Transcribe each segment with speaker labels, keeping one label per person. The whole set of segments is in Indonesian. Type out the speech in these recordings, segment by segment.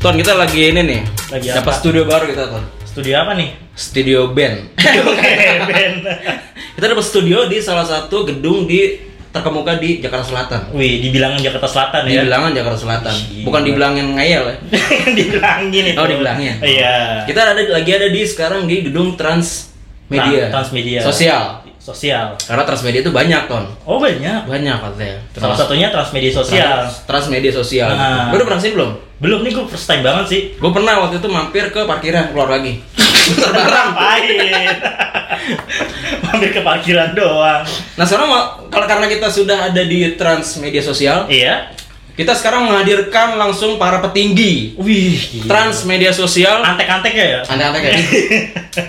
Speaker 1: Ton kita lagi ini nih.
Speaker 2: Lagi
Speaker 1: Dapat
Speaker 2: apa?
Speaker 1: studio baru kita Ton.
Speaker 2: Studio apa nih?
Speaker 1: Studio band.
Speaker 2: Oke, Ben.
Speaker 1: kita dapat studio di salah satu gedung di terkemuka di Jakarta Selatan.
Speaker 2: Wih, dibilangin Jakarta Selatan
Speaker 1: Di
Speaker 2: ya.
Speaker 1: bilangan Jakarta Selatan.
Speaker 2: Gila. Iya.
Speaker 1: Bukan di bilangan ngayal ya.
Speaker 2: dibilangin itu.
Speaker 1: Oh, dibilangin.
Speaker 2: Iya.
Speaker 1: Kita ada lagi ada di sekarang di gedung Transmedia.
Speaker 2: Trans- Nah, Transmedia.
Speaker 1: Sosial.
Speaker 2: Sosial.
Speaker 1: Karena Transmedia itu banyak Ton.
Speaker 2: Oh, banyak.
Speaker 1: Banyak katanya.
Speaker 2: Salah satunya transmedia sosial.
Speaker 1: Trans- Transmedia sosial.
Speaker 2: Ah.
Speaker 1: Gue udah pernah sih belum?
Speaker 2: Belum nih gue first time banget sih.
Speaker 1: Gue pernah waktu itu mampir ke parkiran keluar lagi. Muter barang.
Speaker 2: Ngapain? Mampir ke parkiran doang.
Speaker 1: Nah sekarang mau- kalau karena kita sudah ada di transmedia sosial,
Speaker 2: Iya.
Speaker 1: kita sekarang menghadirkan langsung para petinggi
Speaker 2: Wih, gila.
Speaker 1: transmedia sosial.
Speaker 2: antek-antek ya?
Speaker 1: Aneh-aneh kayak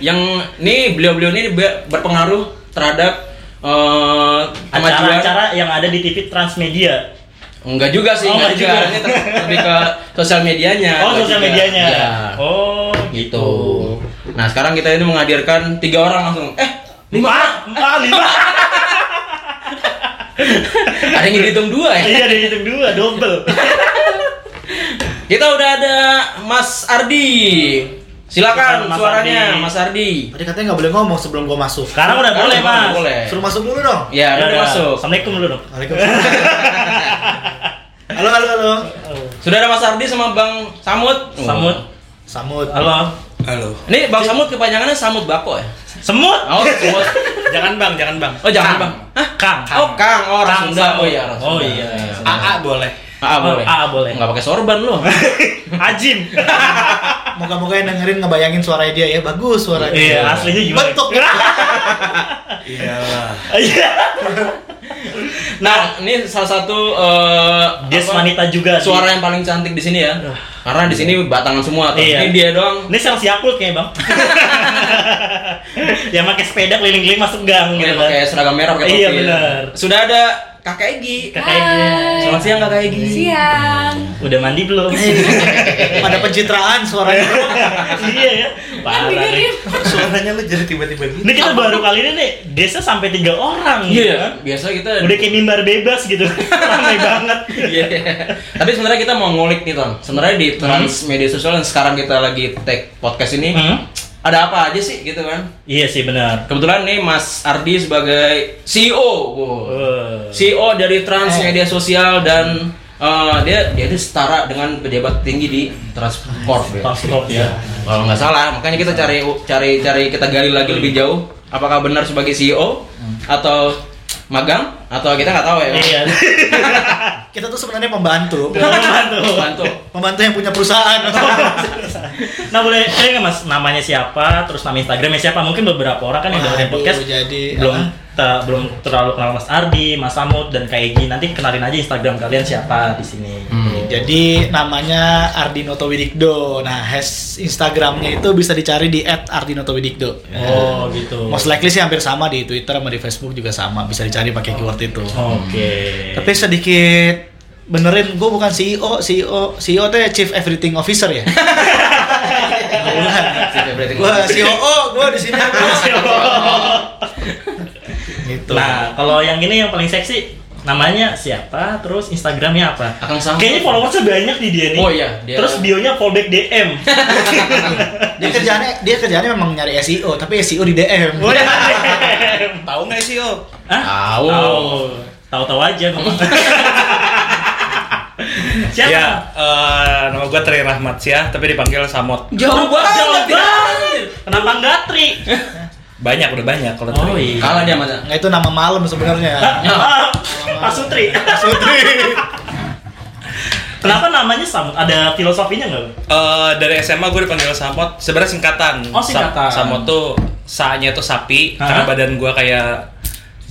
Speaker 1: Yang nih beliau-beliau ini be- berpengaruh terhadap eh, kemajuan.
Speaker 2: Acara-acara yang ada di TV Transmedia.
Speaker 1: Enggak juga sih,
Speaker 2: Oh,
Speaker 1: enggak
Speaker 2: enggak
Speaker 1: juga.
Speaker 2: juga.
Speaker 1: Ini ter- lebih ke sosial medianya.
Speaker 2: Oh,
Speaker 1: enggak
Speaker 2: sosial
Speaker 1: juga.
Speaker 2: medianya.
Speaker 1: Iya.
Speaker 2: Oh, gitu.
Speaker 1: gitu. Nah sekarang kita ini menghadirkan tiga orang langsung. Eh lima.
Speaker 2: Empat, empat, Ah, lima.
Speaker 1: Ada yang dihitung dua ya.
Speaker 2: Iya, dari hitung dua, double.
Speaker 1: Kita udah ada Mas Ardi. Silakan
Speaker 2: Silakan, Mas
Speaker 1: suaranya
Speaker 2: Ardi.
Speaker 1: Mas Ardi.
Speaker 3: Tadi katanya nggak boleh ngomong sebelum gua masuk.
Speaker 2: Sekarang udah boleh,
Speaker 1: Mas,
Speaker 2: Mas.
Speaker 1: Boleh.
Speaker 3: Suruh masuk dulu dong.
Speaker 1: Ya,
Speaker 2: Ya,
Speaker 1: udah
Speaker 2: udah.
Speaker 1: masuk.
Speaker 2: Assalamualaikum dulu dong.
Speaker 3: Waalaikumsalam. halo, halo, halo.
Speaker 2: Oh.
Speaker 1: Sudah ada Mas Ardi sama Bang Samut.
Speaker 2: Samut.
Speaker 3: Samud.
Speaker 2: Halo.
Speaker 4: Halo.
Speaker 1: Oh. Ini Bang Samut kepanjangannya Samut Bako ya?
Speaker 2: Semut.
Speaker 1: Oh, Samut.
Speaker 5: Jangan bang, jangan bang.
Speaker 1: Oh, jangan
Speaker 2: Kang.
Speaker 1: Bang. Hah?
Speaker 2: Kang.
Speaker 1: Oh, Kang orang
Speaker 2: Kang
Speaker 1: Sunda.
Speaker 2: Samut.
Speaker 1: Oh iya, orang
Speaker 2: Oh,
Speaker 1: Sunda.
Speaker 2: iya.
Speaker 1: Iya, Sunda.
Speaker 5: AA boleh.
Speaker 1: AA boleh.
Speaker 2: AA boleh.
Speaker 1: Enggak pakai sorban lu.
Speaker 2: Ajim.
Speaker 3: Moga-moga yang dengerin ngebayangin suaranya dia ya. Bagus suaranya.
Speaker 2: Iya, aslinya gimana?
Speaker 3: Bentuk.
Speaker 4: Iyalah.
Speaker 2: Iya.
Speaker 1: Nah, ini salah satu eh,
Speaker 2: Dia
Speaker 1: apa,
Speaker 2: wanita juga. sih.
Speaker 1: suara yang paling cantik di sini ya. Karena di sini batangan semua. Tapi
Speaker 2: Iya.
Speaker 1: Ini dia doang.
Speaker 2: Ini sang siakul kayaknya, Bang. yang pakai sepeda keliling-keliling masuk gang
Speaker 1: Ini
Speaker 2: gitu kan.
Speaker 1: Iya, pakai seragam merah pakai
Speaker 2: Iya,
Speaker 1: topi.
Speaker 2: benar.
Speaker 1: Sudah ada Kakak Egi.
Speaker 2: Kayaknya.
Speaker 1: Selamat siang Kakak Egi.
Speaker 6: Siang.
Speaker 2: Udah mandi belum?
Speaker 1: Iya.
Speaker 3: Pada pencitraan suaranya.
Speaker 2: iya ya. Parah. nih.
Speaker 6: Kan dengerin.
Speaker 4: Suaranya lu jadi tiba-tiba gitu.
Speaker 2: Ini kita baru kali ini nih, desa sampai tiga orang
Speaker 1: Iya,
Speaker 2: gitu kan.
Speaker 1: biasa kita
Speaker 2: Udah kayak mimbar bebas gitu. Ramai banget.
Speaker 1: Iya. Tapi sebenarnya kita mau ngulik nih, Ton. Sebenarnya di transmedia sosial yang sekarang kita lagi take podcast ini,
Speaker 2: Hmm?
Speaker 1: ada apa aja sih gitu kan?
Speaker 2: Iya sih benar.
Speaker 1: Kebetulan nih Mas Ardi sebagai E CEO, wow.
Speaker 2: Eh,
Speaker 1: CEO E dari transmedia sosial dan eh, dia dia itu setara dengan pejabat tinggi di Transcorp ya.
Speaker 2: Transport ya.
Speaker 1: Kalau nggak salah, makanya kita cari cari cari kita gali lagi lebih jauh. Apakah benar sebagai CEO atau magang atau kita nggak tahu ya?
Speaker 2: Iya.
Speaker 3: Kita tuh sebenarnya pembantu.
Speaker 1: Bantu.
Speaker 3: Pembantu yang punya perusahaan.
Speaker 2: Nah boleh share nggak mas namanya siapa, terus nama Instagramnya siapa? Mungkin beberapa orang kan yang dengerin
Speaker 3: Waduh,
Speaker 2: podcast
Speaker 3: jadi,
Speaker 2: belum
Speaker 3: ah.
Speaker 2: te- belum terlalu kenal Mas Ardi, Mas Samud dan Kak Egi. Nanti kenalin aja Instagram kalian siapa di sini.
Speaker 3: Hmm, Jadi namanya Ardinoto Widikdo. Nah, hash Instagramnya itu bisa dicari di @ardinotowidikdo.
Speaker 2: Oh gitu.
Speaker 3: Most likely sih hampir sama di Twitter sama di Facebook juga sama. Bisa dicari pakai keyword itu.
Speaker 2: Oke.
Speaker 3: Tapi sedikit benerin, gue bukan E CEO, CEO, CEO tuh ya Chief Everything Officer ya. gue COO, gue E di sini. gitu.
Speaker 2: Nah kalau yang ini yang paling seksi namanya siapa, terus Instagramnya apa?
Speaker 1: Akang Samud.
Speaker 2: Kayaknya followersnya banyak di dia nih.
Speaker 1: Oh iya, dia-
Speaker 2: Terus bionya fallback DM.
Speaker 3: dia kerjaannya dia kerjaannya memang nyari SEO, tapi SEO di DM.
Speaker 1: Oh, iya.
Speaker 2: Boleh DM.
Speaker 4: Tahu nggak sih, Yo?
Speaker 2: Hah?
Speaker 1: Tahu. Oh.
Speaker 2: Tahu-tahu aja ngomong. Siapa?
Speaker 1: Iya.
Speaker 5: Ya, eh, nama gue Tri Rahmat Syah, tapi dipanggil Samot.
Speaker 1: Jauh
Speaker 2: Wah,
Speaker 1: banget.
Speaker 2: jauh
Speaker 1: ya.
Speaker 2: banget. Kenapa nggak Tri?
Speaker 5: Banyak udah banyak kalau Tri.
Speaker 2: Oh iya.
Speaker 1: Kalah dia Nah, masa.
Speaker 3: Nah itu nama malam sebenarnya.
Speaker 2: Ah, Pak Sutri.
Speaker 3: Sutri.
Speaker 2: Kenapa namanya Samot? Ada filosofinya nggak?
Speaker 5: Eh, dari SMA gue dipanggil Samot. Sebenarnya singkatan.
Speaker 2: Oh, singkatan.
Speaker 5: Sa- Samot tuh sa-nya tuh sapi,
Speaker 2: Hah?
Speaker 5: karena badan gue kayak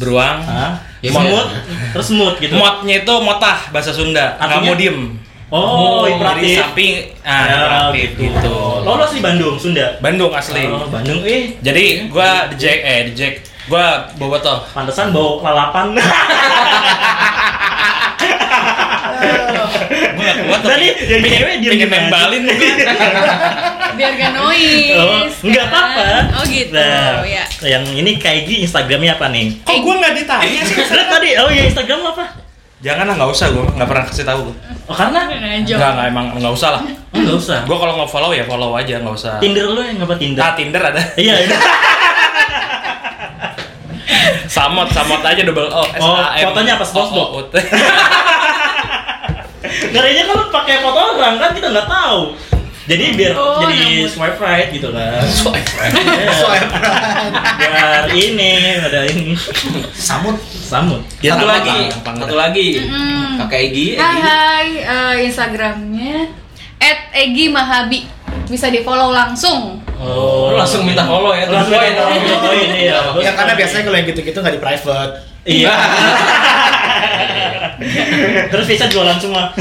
Speaker 5: beruang.
Speaker 2: Hah?
Speaker 1: Ya,
Speaker 2: Semut, terus mood gitu.
Speaker 5: Motnya itu motah bahasa Sunda.
Speaker 2: Artinya?
Speaker 5: Nggak mau diem.
Speaker 2: Oh,
Speaker 1: Oh,
Speaker 5: Jadi
Speaker 2: imperatif.
Speaker 5: sapi,
Speaker 2: Ya,
Speaker 5: ah, imperatif gitu.
Speaker 2: Lo lo asli Bandung, Sunda.
Speaker 5: Bandung asli.
Speaker 2: Oh, Bandung, eh
Speaker 5: Jadi gue di Jack, eh di Jack, gue bawa toh.
Speaker 2: pantesan bau lalapan.
Speaker 5: Gue gak kuat.
Speaker 2: Tadi yang cewek dia
Speaker 5: Pengen nembalin gue.
Speaker 6: Biar gak noise.
Speaker 2: Oh, nggak
Speaker 6: kan?
Speaker 2: apa-apa.
Speaker 6: Oh gitu.
Speaker 2: Nah,
Speaker 6: Ya.
Speaker 2: Yang ini Kaigi Instagramnya apa nih?
Speaker 5: Kok gue gak ditanya sih?
Speaker 2: Terus tadi, oh ya iya, Instagram lo apa?
Speaker 5: Jangan lah, nggak usah gue, nggak pernah kasih tahu gue.
Speaker 2: Oh karena
Speaker 6: Kena
Speaker 5: Nggak,
Speaker 6: aja.
Speaker 5: nggak emang nggak usah lah.
Speaker 2: Oh, nggak usah.
Speaker 5: Gue kalau nggak follow ya follow aja, nggak usah.
Speaker 2: Tinder lu yang apa Tinder?
Speaker 5: Ah Tinder ada.
Speaker 2: Iya. iya.
Speaker 5: Samot, samot aja double O. S
Speaker 2: Oh,
Speaker 5: A M. oh,
Speaker 2: fotonya apa, SpongeBob?
Speaker 5: O, O, O, T.
Speaker 2: Ngerinya kan lu pakai foto orang kan kita nggak tahu. Jadi biar
Speaker 6: Oh,
Speaker 2: jadi
Speaker 6: namun.
Speaker 2: swipe right gitu kan. Swipe right. swipe right. Biar ini ada ini
Speaker 3: Samut.
Speaker 2: samut.
Speaker 5: Ya,
Speaker 1: satu
Speaker 5: sama
Speaker 1: lagi,
Speaker 5: lah, gampang
Speaker 1: satu
Speaker 5: lah.
Speaker 1: lagi.
Speaker 6: Mm-mm.
Speaker 1: Kakak Egi,
Speaker 6: Hai
Speaker 1: Egi.
Speaker 6: hai eh, Instagramnya @egi_mahabi bisa di follow langsung.
Speaker 2: Oh,
Speaker 1: Lu langsung minta follow ya,
Speaker 2: Langsung
Speaker 1: terus
Speaker 2: minta
Speaker 1: poin.
Speaker 2: follow. iya.
Speaker 3: Ya karena biasanya kalau yang gitu-gitu nggak di private.
Speaker 2: Iya. Terus bisa jualan semua.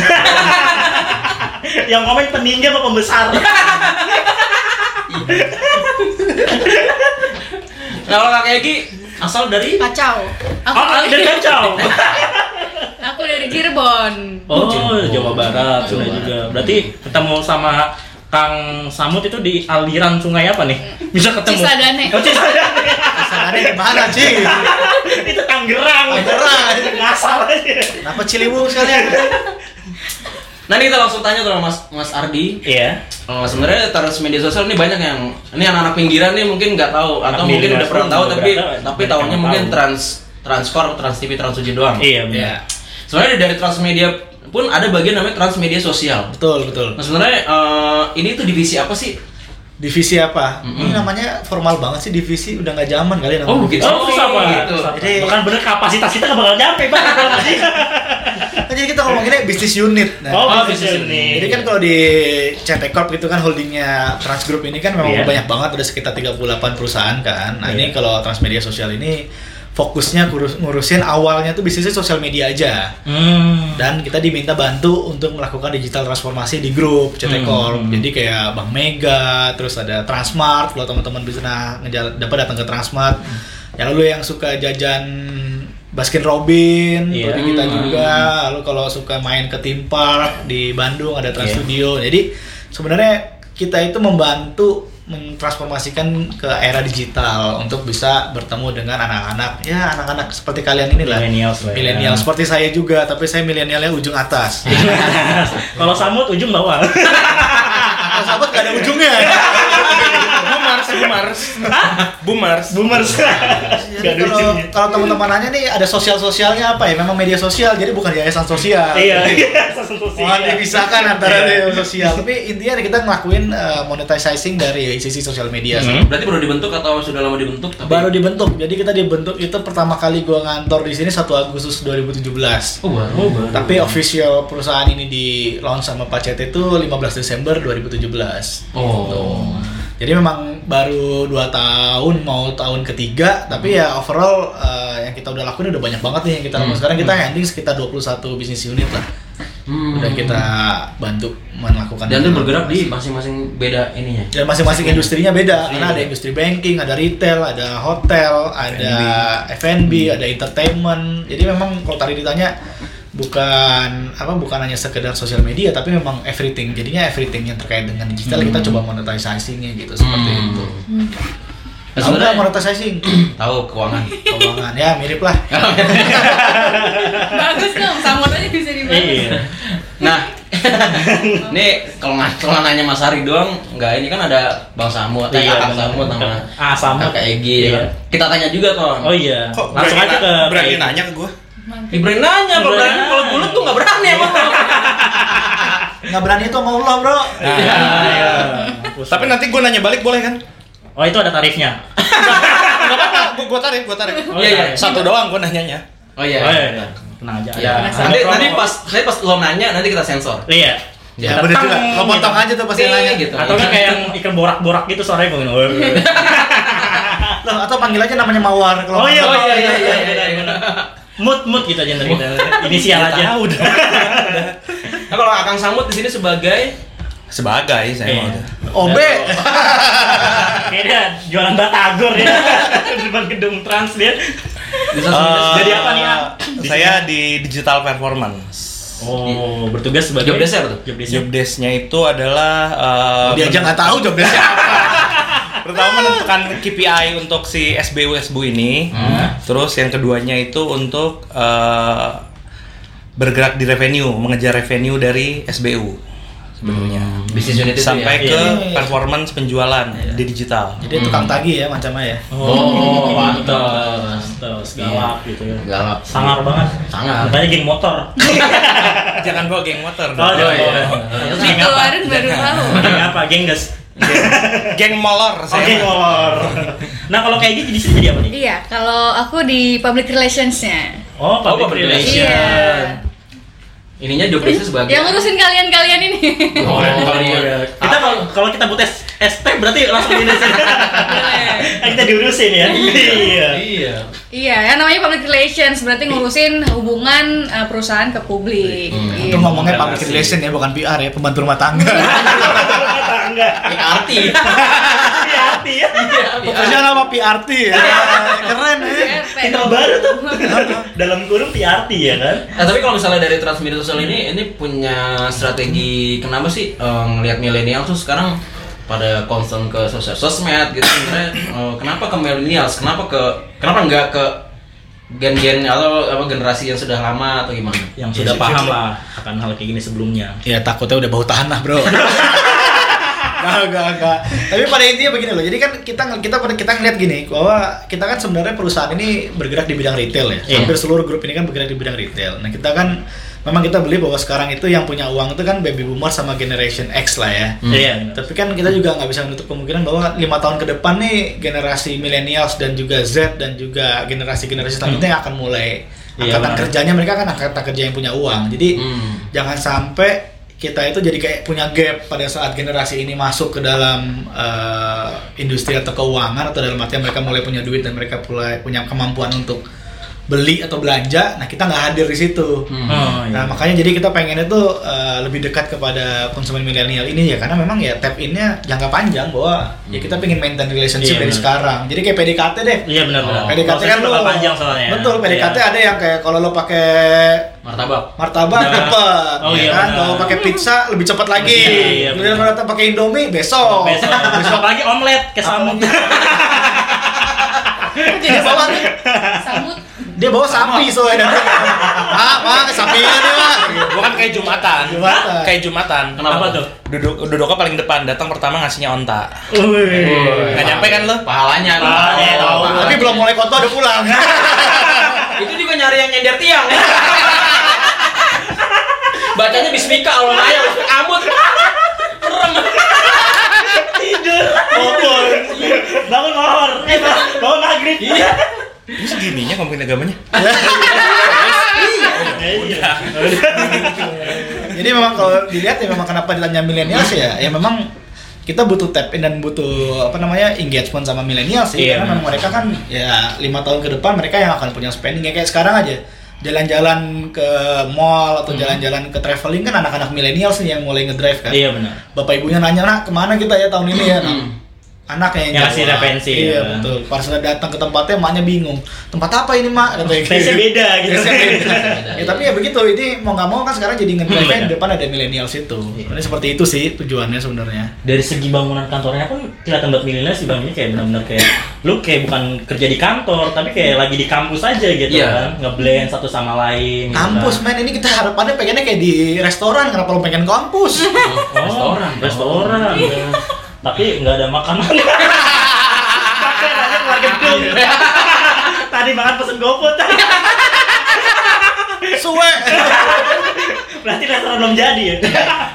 Speaker 2: yang komen peninggi apa pembesar?
Speaker 1: Nah, kalau Kakak Egi asal dari
Speaker 6: Kacau. Aku
Speaker 2: Oh,
Speaker 6: dari,
Speaker 2: dari kacau.
Speaker 6: aku dari Cirebon.
Speaker 2: Oh, Jawa Barat sudah juga. Berarti ketemu sama Kang Samut itu di aliran sungai apa nih? Bisa ketemu?
Speaker 6: Cisadane.
Speaker 2: Oh, Cisadane.
Speaker 3: Sana gimana sih?
Speaker 2: itu Tangerang.
Speaker 3: Tangerang.
Speaker 2: Ngasal aja.
Speaker 3: Kenapa Ciliwung sekalian?
Speaker 1: Nah, ini kita langsung tanya tuh sama Mas Mas Ardi.
Speaker 2: Iya.
Speaker 1: Eh, sebenarnya terus media sosial ini banyak yang ini anak-anak pinggiran nih mungkin nggak tahu
Speaker 2: Anak
Speaker 1: atau mungkin
Speaker 2: milenial
Speaker 1: udah pernah
Speaker 2: pun
Speaker 1: tahu
Speaker 2: juga
Speaker 1: tapi
Speaker 2: nggak tahu, ya.
Speaker 1: tapi
Speaker 2: banyak
Speaker 1: tahunya
Speaker 2: yang
Speaker 1: mungkin
Speaker 2: tahu.
Speaker 1: trans transfer trans TV trans tujuh doang.
Speaker 2: Iya, benar.
Speaker 1: Sebenarnya dari transmedia pun ada bagian namanya transmedia sosial.
Speaker 3: Betul, betul.
Speaker 1: Nah, sebenarnya eh, ini tuh divisi apa sih?
Speaker 3: Divisi apa?
Speaker 1: Mm-mm.
Speaker 3: Ini namanya formal banget sih divisi udah nggak zaman kali ya namanya.
Speaker 1: Oh, begitu.
Speaker 2: Oh, terus apa?
Speaker 1: Gitu.
Speaker 2: Terus apa?
Speaker 3: Jadi-
Speaker 2: Bukan bener kapasitas kita nggak bakal nyampe, Pak.
Speaker 3: Kan jadi kita ngomonginnya bisnis unit. Nah,
Speaker 2: oh,
Speaker 1: Oh,
Speaker 2: bisa
Speaker 1: bisa
Speaker 2: ini.
Speaker 3: Jadi kan kalau di CT Corp gitu kan holdingnya Trans Group ini kan
Speaker 2: Iya.
Speaker 3: memang banyak banget ada sekitar 38 perusahaan kan. Nah ini kalau transmedia sosial ini fokusnya kurus- ngurusin awalnya tuh bisnisnya sosial media aja.
Speaker 2: Hmm.
Speaker 3: Dan kita diminta bantu untuk melakukan digital transformasi di grup
Speaker 2: Hmm.
Speaker 3: CT Corp. Jadi kayak Bank Mega, terus ada Transmart. Kalau teman-teman bisa nah, ngejala- dapat datang ke Transmart.
Speaker 2: Hmm.
Speaker 3: Ya lalu yang suka jajan Baskin Robin,
Speaker 2: Iya.
Speaker 3: Roti kita
Speaker 1: Hmm.
Speaker 3: juga lalu Iya, kalau suka main ke theme park di Bandung ada
Speaker 2: Iya.
Speaker 3: Trans Studio jadi sebenarnya kita itu membantu mentransformasikan ke era digital untuk bisa bertemu dengan anak-anak ya anak-anak seperti kalian inilah
Speaker 2: Millennials lah ya.
Speaker 3: milenial seperti saya juga tapi saya milenialnya ujung atas
Speaker 2: Kalau Samut ujung bawah.
Speaker 3: Kalau sahabat gak ada ujungnya
Speaker 5: Boomers, boomers. Boomers.
Speaker 2: Boomers. Nggak
Speaker 3: Jadi
Speaker 2: ada
Speaker 3: kalau
Speaker 2: ujungnya.
Speaker 3: kalau teman-teman nanya nih ada sosial sosialnya apa ya memang media sosial jadi bukan yayasan sosial
Speaker 2: Iya, iya, sosial.
Speaker 3: Mohon dipisahkan
Speaker 2: Iya.
Speaker 3: antara media sosial. Tapi intinya kita ngelakuin eh, monetizing dari sisi sosial media. sih.
Speaker 2: Hmm.
Speaker 1: Berarti baru dibentuk atau sudah lama dibentuk? Tapi...
Speaker 3: Baru dibentuk. Jadi kita dibentuk itu pertama kali gua ngantor di sini 1 Agustus 2017.
Speaker 1: Oh, baru.
Speaker 3: Tapi official perusahaan ini di launch sama Pak CT itu 15 Desember 2017.
Speaker 1: Oh.
Speaker 3: Gitu. Jadi memang baru 2 tahun mau tahun ketiga, tapi ya overall eh, yang kita udah lakuin udah banyak banget nih yang kita lakukan. Sekarang kita ending sekitar 21 bisnis unit lah.
Speaker 1: Hmm.
Speaker 3: Udah kita bantu melakukan
Speaker 1: Dan itu bergerak di masing-masing beda ininya.
Speaker 3: dan Ya, masing-masing industrinya beda karena
Speaker 1: Iya.
Speaker 3: ada industri banking, ada retail, ada hotel, ada F&B, ada entertainment. Jadi memang kalau tadi ditanya bukan apa bukan hanya sekedar sosial media tapi memang everything. Jadinya everything yang terkait dengan digital kita coba monetizing-nya gitu seperti
Speaker 1: Hmm.
Speaker 3: itu.
Speaker 1: Nah,
Speaker 3: Tahu nggak
Speaker 1: sebenarnya-
Speaker 3: monetizing?
Speaker 1: Tahu keuangan.
Speaker 3: Keuangan ya mirip lah.
Speaker 6: Bagus dong, samot aja bisa di mana.
Speaker 2: Iya.
Speaker 1: Nah, ini kalau nggak kalau nanya Mas Ari doang, nggak ini kan ada Bang Samu, eh,
Speaker 2: Iya,
Speaker 1: Akang
Speaker 2: benar.
Speaker 1: Samu sama
Speaker 2: Ah, Samut.
Speaker 1: Kakak Egi.
Speaker 2: Iya.
Speaker 1: ya. Kita tanya juga Ton.
Speaker 2: Oh iya.
Speaker 5: Kok
Speaker 2: Langsung
Speaker 5: berani
Speaker 2: aja ke
Speaker 5: na- berani nanya ke gue?
Speaker 1: Ih, berani nanya, kalau berani
Speaker 2: Berani.
Speaker 1: kalau bulut tuh nggak berani emang. Oh,
Speaker 3: Nggak berani itu sama Allah, Bro.
Speaker 2: Nah, iya.
Speaker 5: Tapi nanti gue nanya balik boleh kan?
Speaker 2: Oh, itu ada tarifnya. Ah,
Speaker 5: Gak apa-apa, gue gue tarik, gue tarik.
Speaker 2: Oh,
Speaker 1: Iya, iya.
Speaker 2: tarif.
Speaker 5: Satu doang gue nanyanya.
Speaker 1: Oh iya.
Speaker 2: Oh, iya, iya. Tenang aja.
Speaker 1: Ya,
Speaker 2: ada- ada
Speaker 1: nanti,
Speaker 2: promo.
Speaker 1: nanti pas nanti pas lo nanya nanti kita sensor.
Speaker 2: Iya.
Speaker 3: Ya, bener juga.
Speaker 2: Teng,
Speaker 3: Lo potong
Speaker 2: gitu.
Speaker 3: aja tuh pasti nanya gitu.
Speaker 1: Gitu.
Speaker 2: Atau nggak kayak yang ikan borak-borak gitu sore mungkin. Oh, iya.
Speaker 3: Loh, atau panggil aja namanya Mawar kalau
Speaker 2: Oh iya,
Speaker 1: Oh, iya, iya, iya,
Speaker 2: benar,
Speaker 1: iya.
Speaker 2: benar. Mood-mood gitu aja ntar kita. Inisial aja.
Speaker 5: udah.
Speaker 1: Nah, kalau Akang Samut di sini sebagai
Speaker 5: Sebagai saya
Speaker 2: Iya.
Speaker 5: mau.
Speaker 3: OB.
Speaker 2: Kayaknya jualan batagor ya. Di depan gedung Trans
Speaker 1: Iya.
Speaker 2: dia.
Speaker 1: bisa
Speaker 5: Eh,
Speaker 2: Jadi apa nih, ah? Ak? Di
Speaker 5: Saya di digital performance.
Speaker 2: Oh, bertugas sebagai
Speaker 1: Job desk apa tuh?
Speaker 2: Job desk.
Speaker 5: Job desk-nya itu adalah eh,
Speaker 3: Dia aja nggak tahu jawabnya siapa.
Speaker 5: Pertama menentukan KPI untuk si
Speaker 2: Hmm.
Speaker 5: SBU SBU ini. Terus yang keduanya itu untuk eh, bergerak di revenue, mengejar revenue dari SBU sebelumnya.
Speaker 1: Bisnis unit itu ya?
Speaker 5: Sampai
Speaker 2: ya?
Speaker 5: ke
Speaker 2: Iya,
Speaker 3: iya.
Speaker 5: performance penjualan di digital.
Speaker 3: Jadi tukang tagih ya macamnya ya.
Speaker 1: Oh, mantap.
Speaker 2: Pantes,
Speaker 1: Iya.
Speaker 2: galak gitu ya.
Speaker 1: Galak.
Speaker 2: Sangar banget.
Speaker 1: Sangar.
Speaker 2: Makanya geng motor.
Speaker 5: Jangan bawa geng motor.
Speaker 2: Oh,
Speaker 5: dong.
Speaker 2: jangan
Speaker 1: iya.
Speaker 2: bawa.
Speaker 1: Iya.
Speaker 2: Geng apa?
Speaker 6: Dikeluarin baru tahu.
Speaker 2: Geng apa? Geng gas.
Speaker 5: Geng molor
Speaker 2: Oh,
Speaker 5: saya.
Speaker 2: geng molor. Nah, kalau kayak gitu jadi jadi apa nih?
Speaker 6: Iya, kalau aku di public relationsnya.
Speaker 2: Oh, public
Speaker 1: public
Speaker 2: relation.
Speaker 6: Iya.
Speaker 1: Ininya job desk sebagai
Speaker 6: Yang ngurusin kalian-kalian ini.
Speaker 1: Oh, kalian.
Speaker 2: Iya. Kita kalau kalau kita butuh S- ST berarti langsung di
Speaker 6: Boleh.
Speaker 2: kita diurusin ya. Iya.
Speaker 1: Iya.
Speaker 6: Iya, yang namanya public relations berarti ngurusin hubungan eh, perusahaan ke publik.
Speaker 1: Hmm.
Speaker 6: Iya.
Speaker 3: Itu ngomongnya public
Speaker 5: relasi.
Speaker 3: relation ya, bukan PR ya, pembantu rumah tangga.
Speaker 2: Tangga.
Speaker 1: PRT.
Speaker 2: Hati-hati ya.
Speaker 3: Profesional sama PRT ya. Keren ya.
Speaker 6: PRT.
Speaker 2: Kita baru tuh dalam kurung PRT ya kan.
Speaker 1: Nah, tapi kalau misalnya dari transmedia sosial ini ini punya strategi kenapa sih eh, ngelihat milenial tuh sekarang pada concern ke sosial sosmed gitu sebenarnya eh, kenapa ke millennials kenapa ke kenapa nggak ke gen-gen atau apa generasi yang sudah lama atau gimana
Speaker 2: Yang sudah paham lah akan hal kayak gini sebelumnya.
Speaker 3: Ya takutnya udah bau tanah bro. Gak, gak, gak. Tapi pada intinya begini loh. Jadi kan kita kita kita ngeliat gini bahwa kita kan sebenarnya perusahaan ini bergerak di bidang retail ya.
Speaker 2: Iya.
Speaker 3: Hampir seluruh grup ini kan bergerak di bidang retail. Nah kita kan memang kita beli bahwa sekarang itu yang punya uang itu kan baby boomer sama generation X lah ya.
Speaker 2: Iya.
Speaker 3: Tapi kan kita juga nggak bisa menutup kemungkinan bahwa lima tahun ke depan nih generasi millennials dan juga Z dan juga generasi-generasi selanjutnya yang akan mulai
Speaker 2: Hmm. Iya,
Speaker 3: angkatan
Speaker 2: benar.
Speaker 3: kerjanya mereka kan angkatan kerja yang punya uang. Jadi
Speaker 1: Hmm.
Speaker 3: jangan sampai kita itu jadi kayak punya gap pada saat generasi ini masuk ke dalam eh, industri atau keuangan atau dalam artian mereka mulai punya duit dan mereka mulai punya kemampuan untuk beli atau belanja. Nah kita nggak hadir di situ.
Speaker 1: Hmm.
Speaker 2: Oh,
Speaker 3: Nah, makanya jadi kita pengennya tuh eh, lebih dekat kepada konsumen milenial ini ya karena memang ya tap innya jangka panjang bahwa ya kita pengen maintain relationship
Speaker 2: Iya,
Speaker 3: dari
Speaker 2: benar.
Speaker 3: sekarang. Jadi kayak PDKT deh.
Speaker 2: Iya benar benar.
Speaker 1: Oh.
Speaker 3: PDKT
Speaker 2: Prosesnya
Speaker 3: kan lo
Speaker 2: bakal panjang soalnya.
Speaker 3: Betul, PDKT
Speaker 2: Iya.
Speaker 3: ada yang kayak kalau lo pakai
Speaker 1: martabak
Speaker 3: martabak
Speaker 2: Nah.
Speaker 3: cepet,
Speaker 2: Oh,
Speaker 3: ya
Speaker 2: iya,
Speaker 3: kan?
Speaker 2: benar.
Speaker 3: Kalau pakai pizza lebih cepat lagi.
Speaker 2: Iya, iya,
Speaker 3: Kemudian
Speaker 2: benar.
Speaker 3: kalau datang pakai Indomie besok.
Speaker 2: Besok, besok lagi omelet ke samut.
Speaker 3: Dia bawa
Speaker 6: Sambut.
Speaker 3: dia bawa sapi soalnya. Ah, mak, sapinya nih, Mak.
Speaker 5: Bukan kan kayak Jumatan.
Speaker 3: Jumatan.
Speaker 5: Kayak Jumatan.
Speaker 2: Apa tuh?
Speaker 5: Duduk duduknya paling depan, datang pertama ngasihnya onta.
Speaker 2: Wih.
Speaker 5: Nggak nyampe kan lo?
Speaker 1: pahalanya lu.
Speaker 2: Pahalanya,
Speaker 1: Oh,
Speaker 2: Ah, iya, tahu.
Speaker 1: pahalanya.
Speaker 3: Tapi belum mulai kotor udah pulang.
Speaker 1: itu juga nyari yang nyender tiang ya. bacanya bismika kalau naya bismika amut
Speaker 2: Oh. Bangun. Bangun horor. Eh, bangun maghrib. Iya.
Speaker 5: Ini segininya ngomongin agamanya.
Speaker 2: Iya.
Speaker 3: Jadi memang kalau dilihat ya memang kenapa ditanya milenial sih ya, ya memang kita butuh tap in dan butuh apa namanya engagement sama milenial sih
Speaker 2: Iya,
Speaker 3: karena memang mereka kan ya lima tahun ke depan mereka yang akan punya spending ya kayak sekarang aja jalan-jalan ke
Speaker 2: Hmm.
Speaker 3: mall atau jalan-jalan ke traveling kan anak-anak milenial sih yang mulai ngedrive kan
Speaker 2: Iya benar.
Speaker 3: bapak ibunya nanya nak kemana kita ya tahun ini ya Nak?" anak yang
Speaker 2: Hmm. Yang
Speaker 3: jawab.
Speaker 2: ngasih referensi,
Speaker 3: iya
Speaker 2: ya.
Speaker 3: betul pas sudah datang ke tempatnya emaknya bingung tempat apa ini mak katanya gitu.
Speaker 2: Tesnya beda gitu.
Speaker 3: Tesnya beda. ya tapi ya begitu ini mau nggak mau kan sekarang jadi
Speaker 2: Hmm,
Speaker 3: ngedrive
Speaker 2: benar.
Speaker 3: depan ada milenial situ
Speaker 2: Iya.
Speaker 3: ini seperti itu sih tujuannya sebenarnya
Speaker 2: Dari segi bangunan kantornya pun kelihatan buat milenial sih bang ini kayak benar-benar kayak lu kayak bukan kerja di kantor tapi kayak lagi di kampus aja gitu
Speaker 1: Iya.
Speaker 2: kan ngeblend satu sama lain. gitu
Speaker 3: kampus
Speaker 2: kan.
Speaker 3: men ini kita harapannya pengennya kayak di restoran kenapa lo pengen kampus
Speaker 2: Oh,
Speaker 1: restoran
Speaker 2: restoran. Iya. Tapi nggak ada makanan. Makanannya keluar gedung. Tadi banget pesen GoFood.
Speaker 3: suwe
Speaker 2: Berarti restoran belum jadi ya.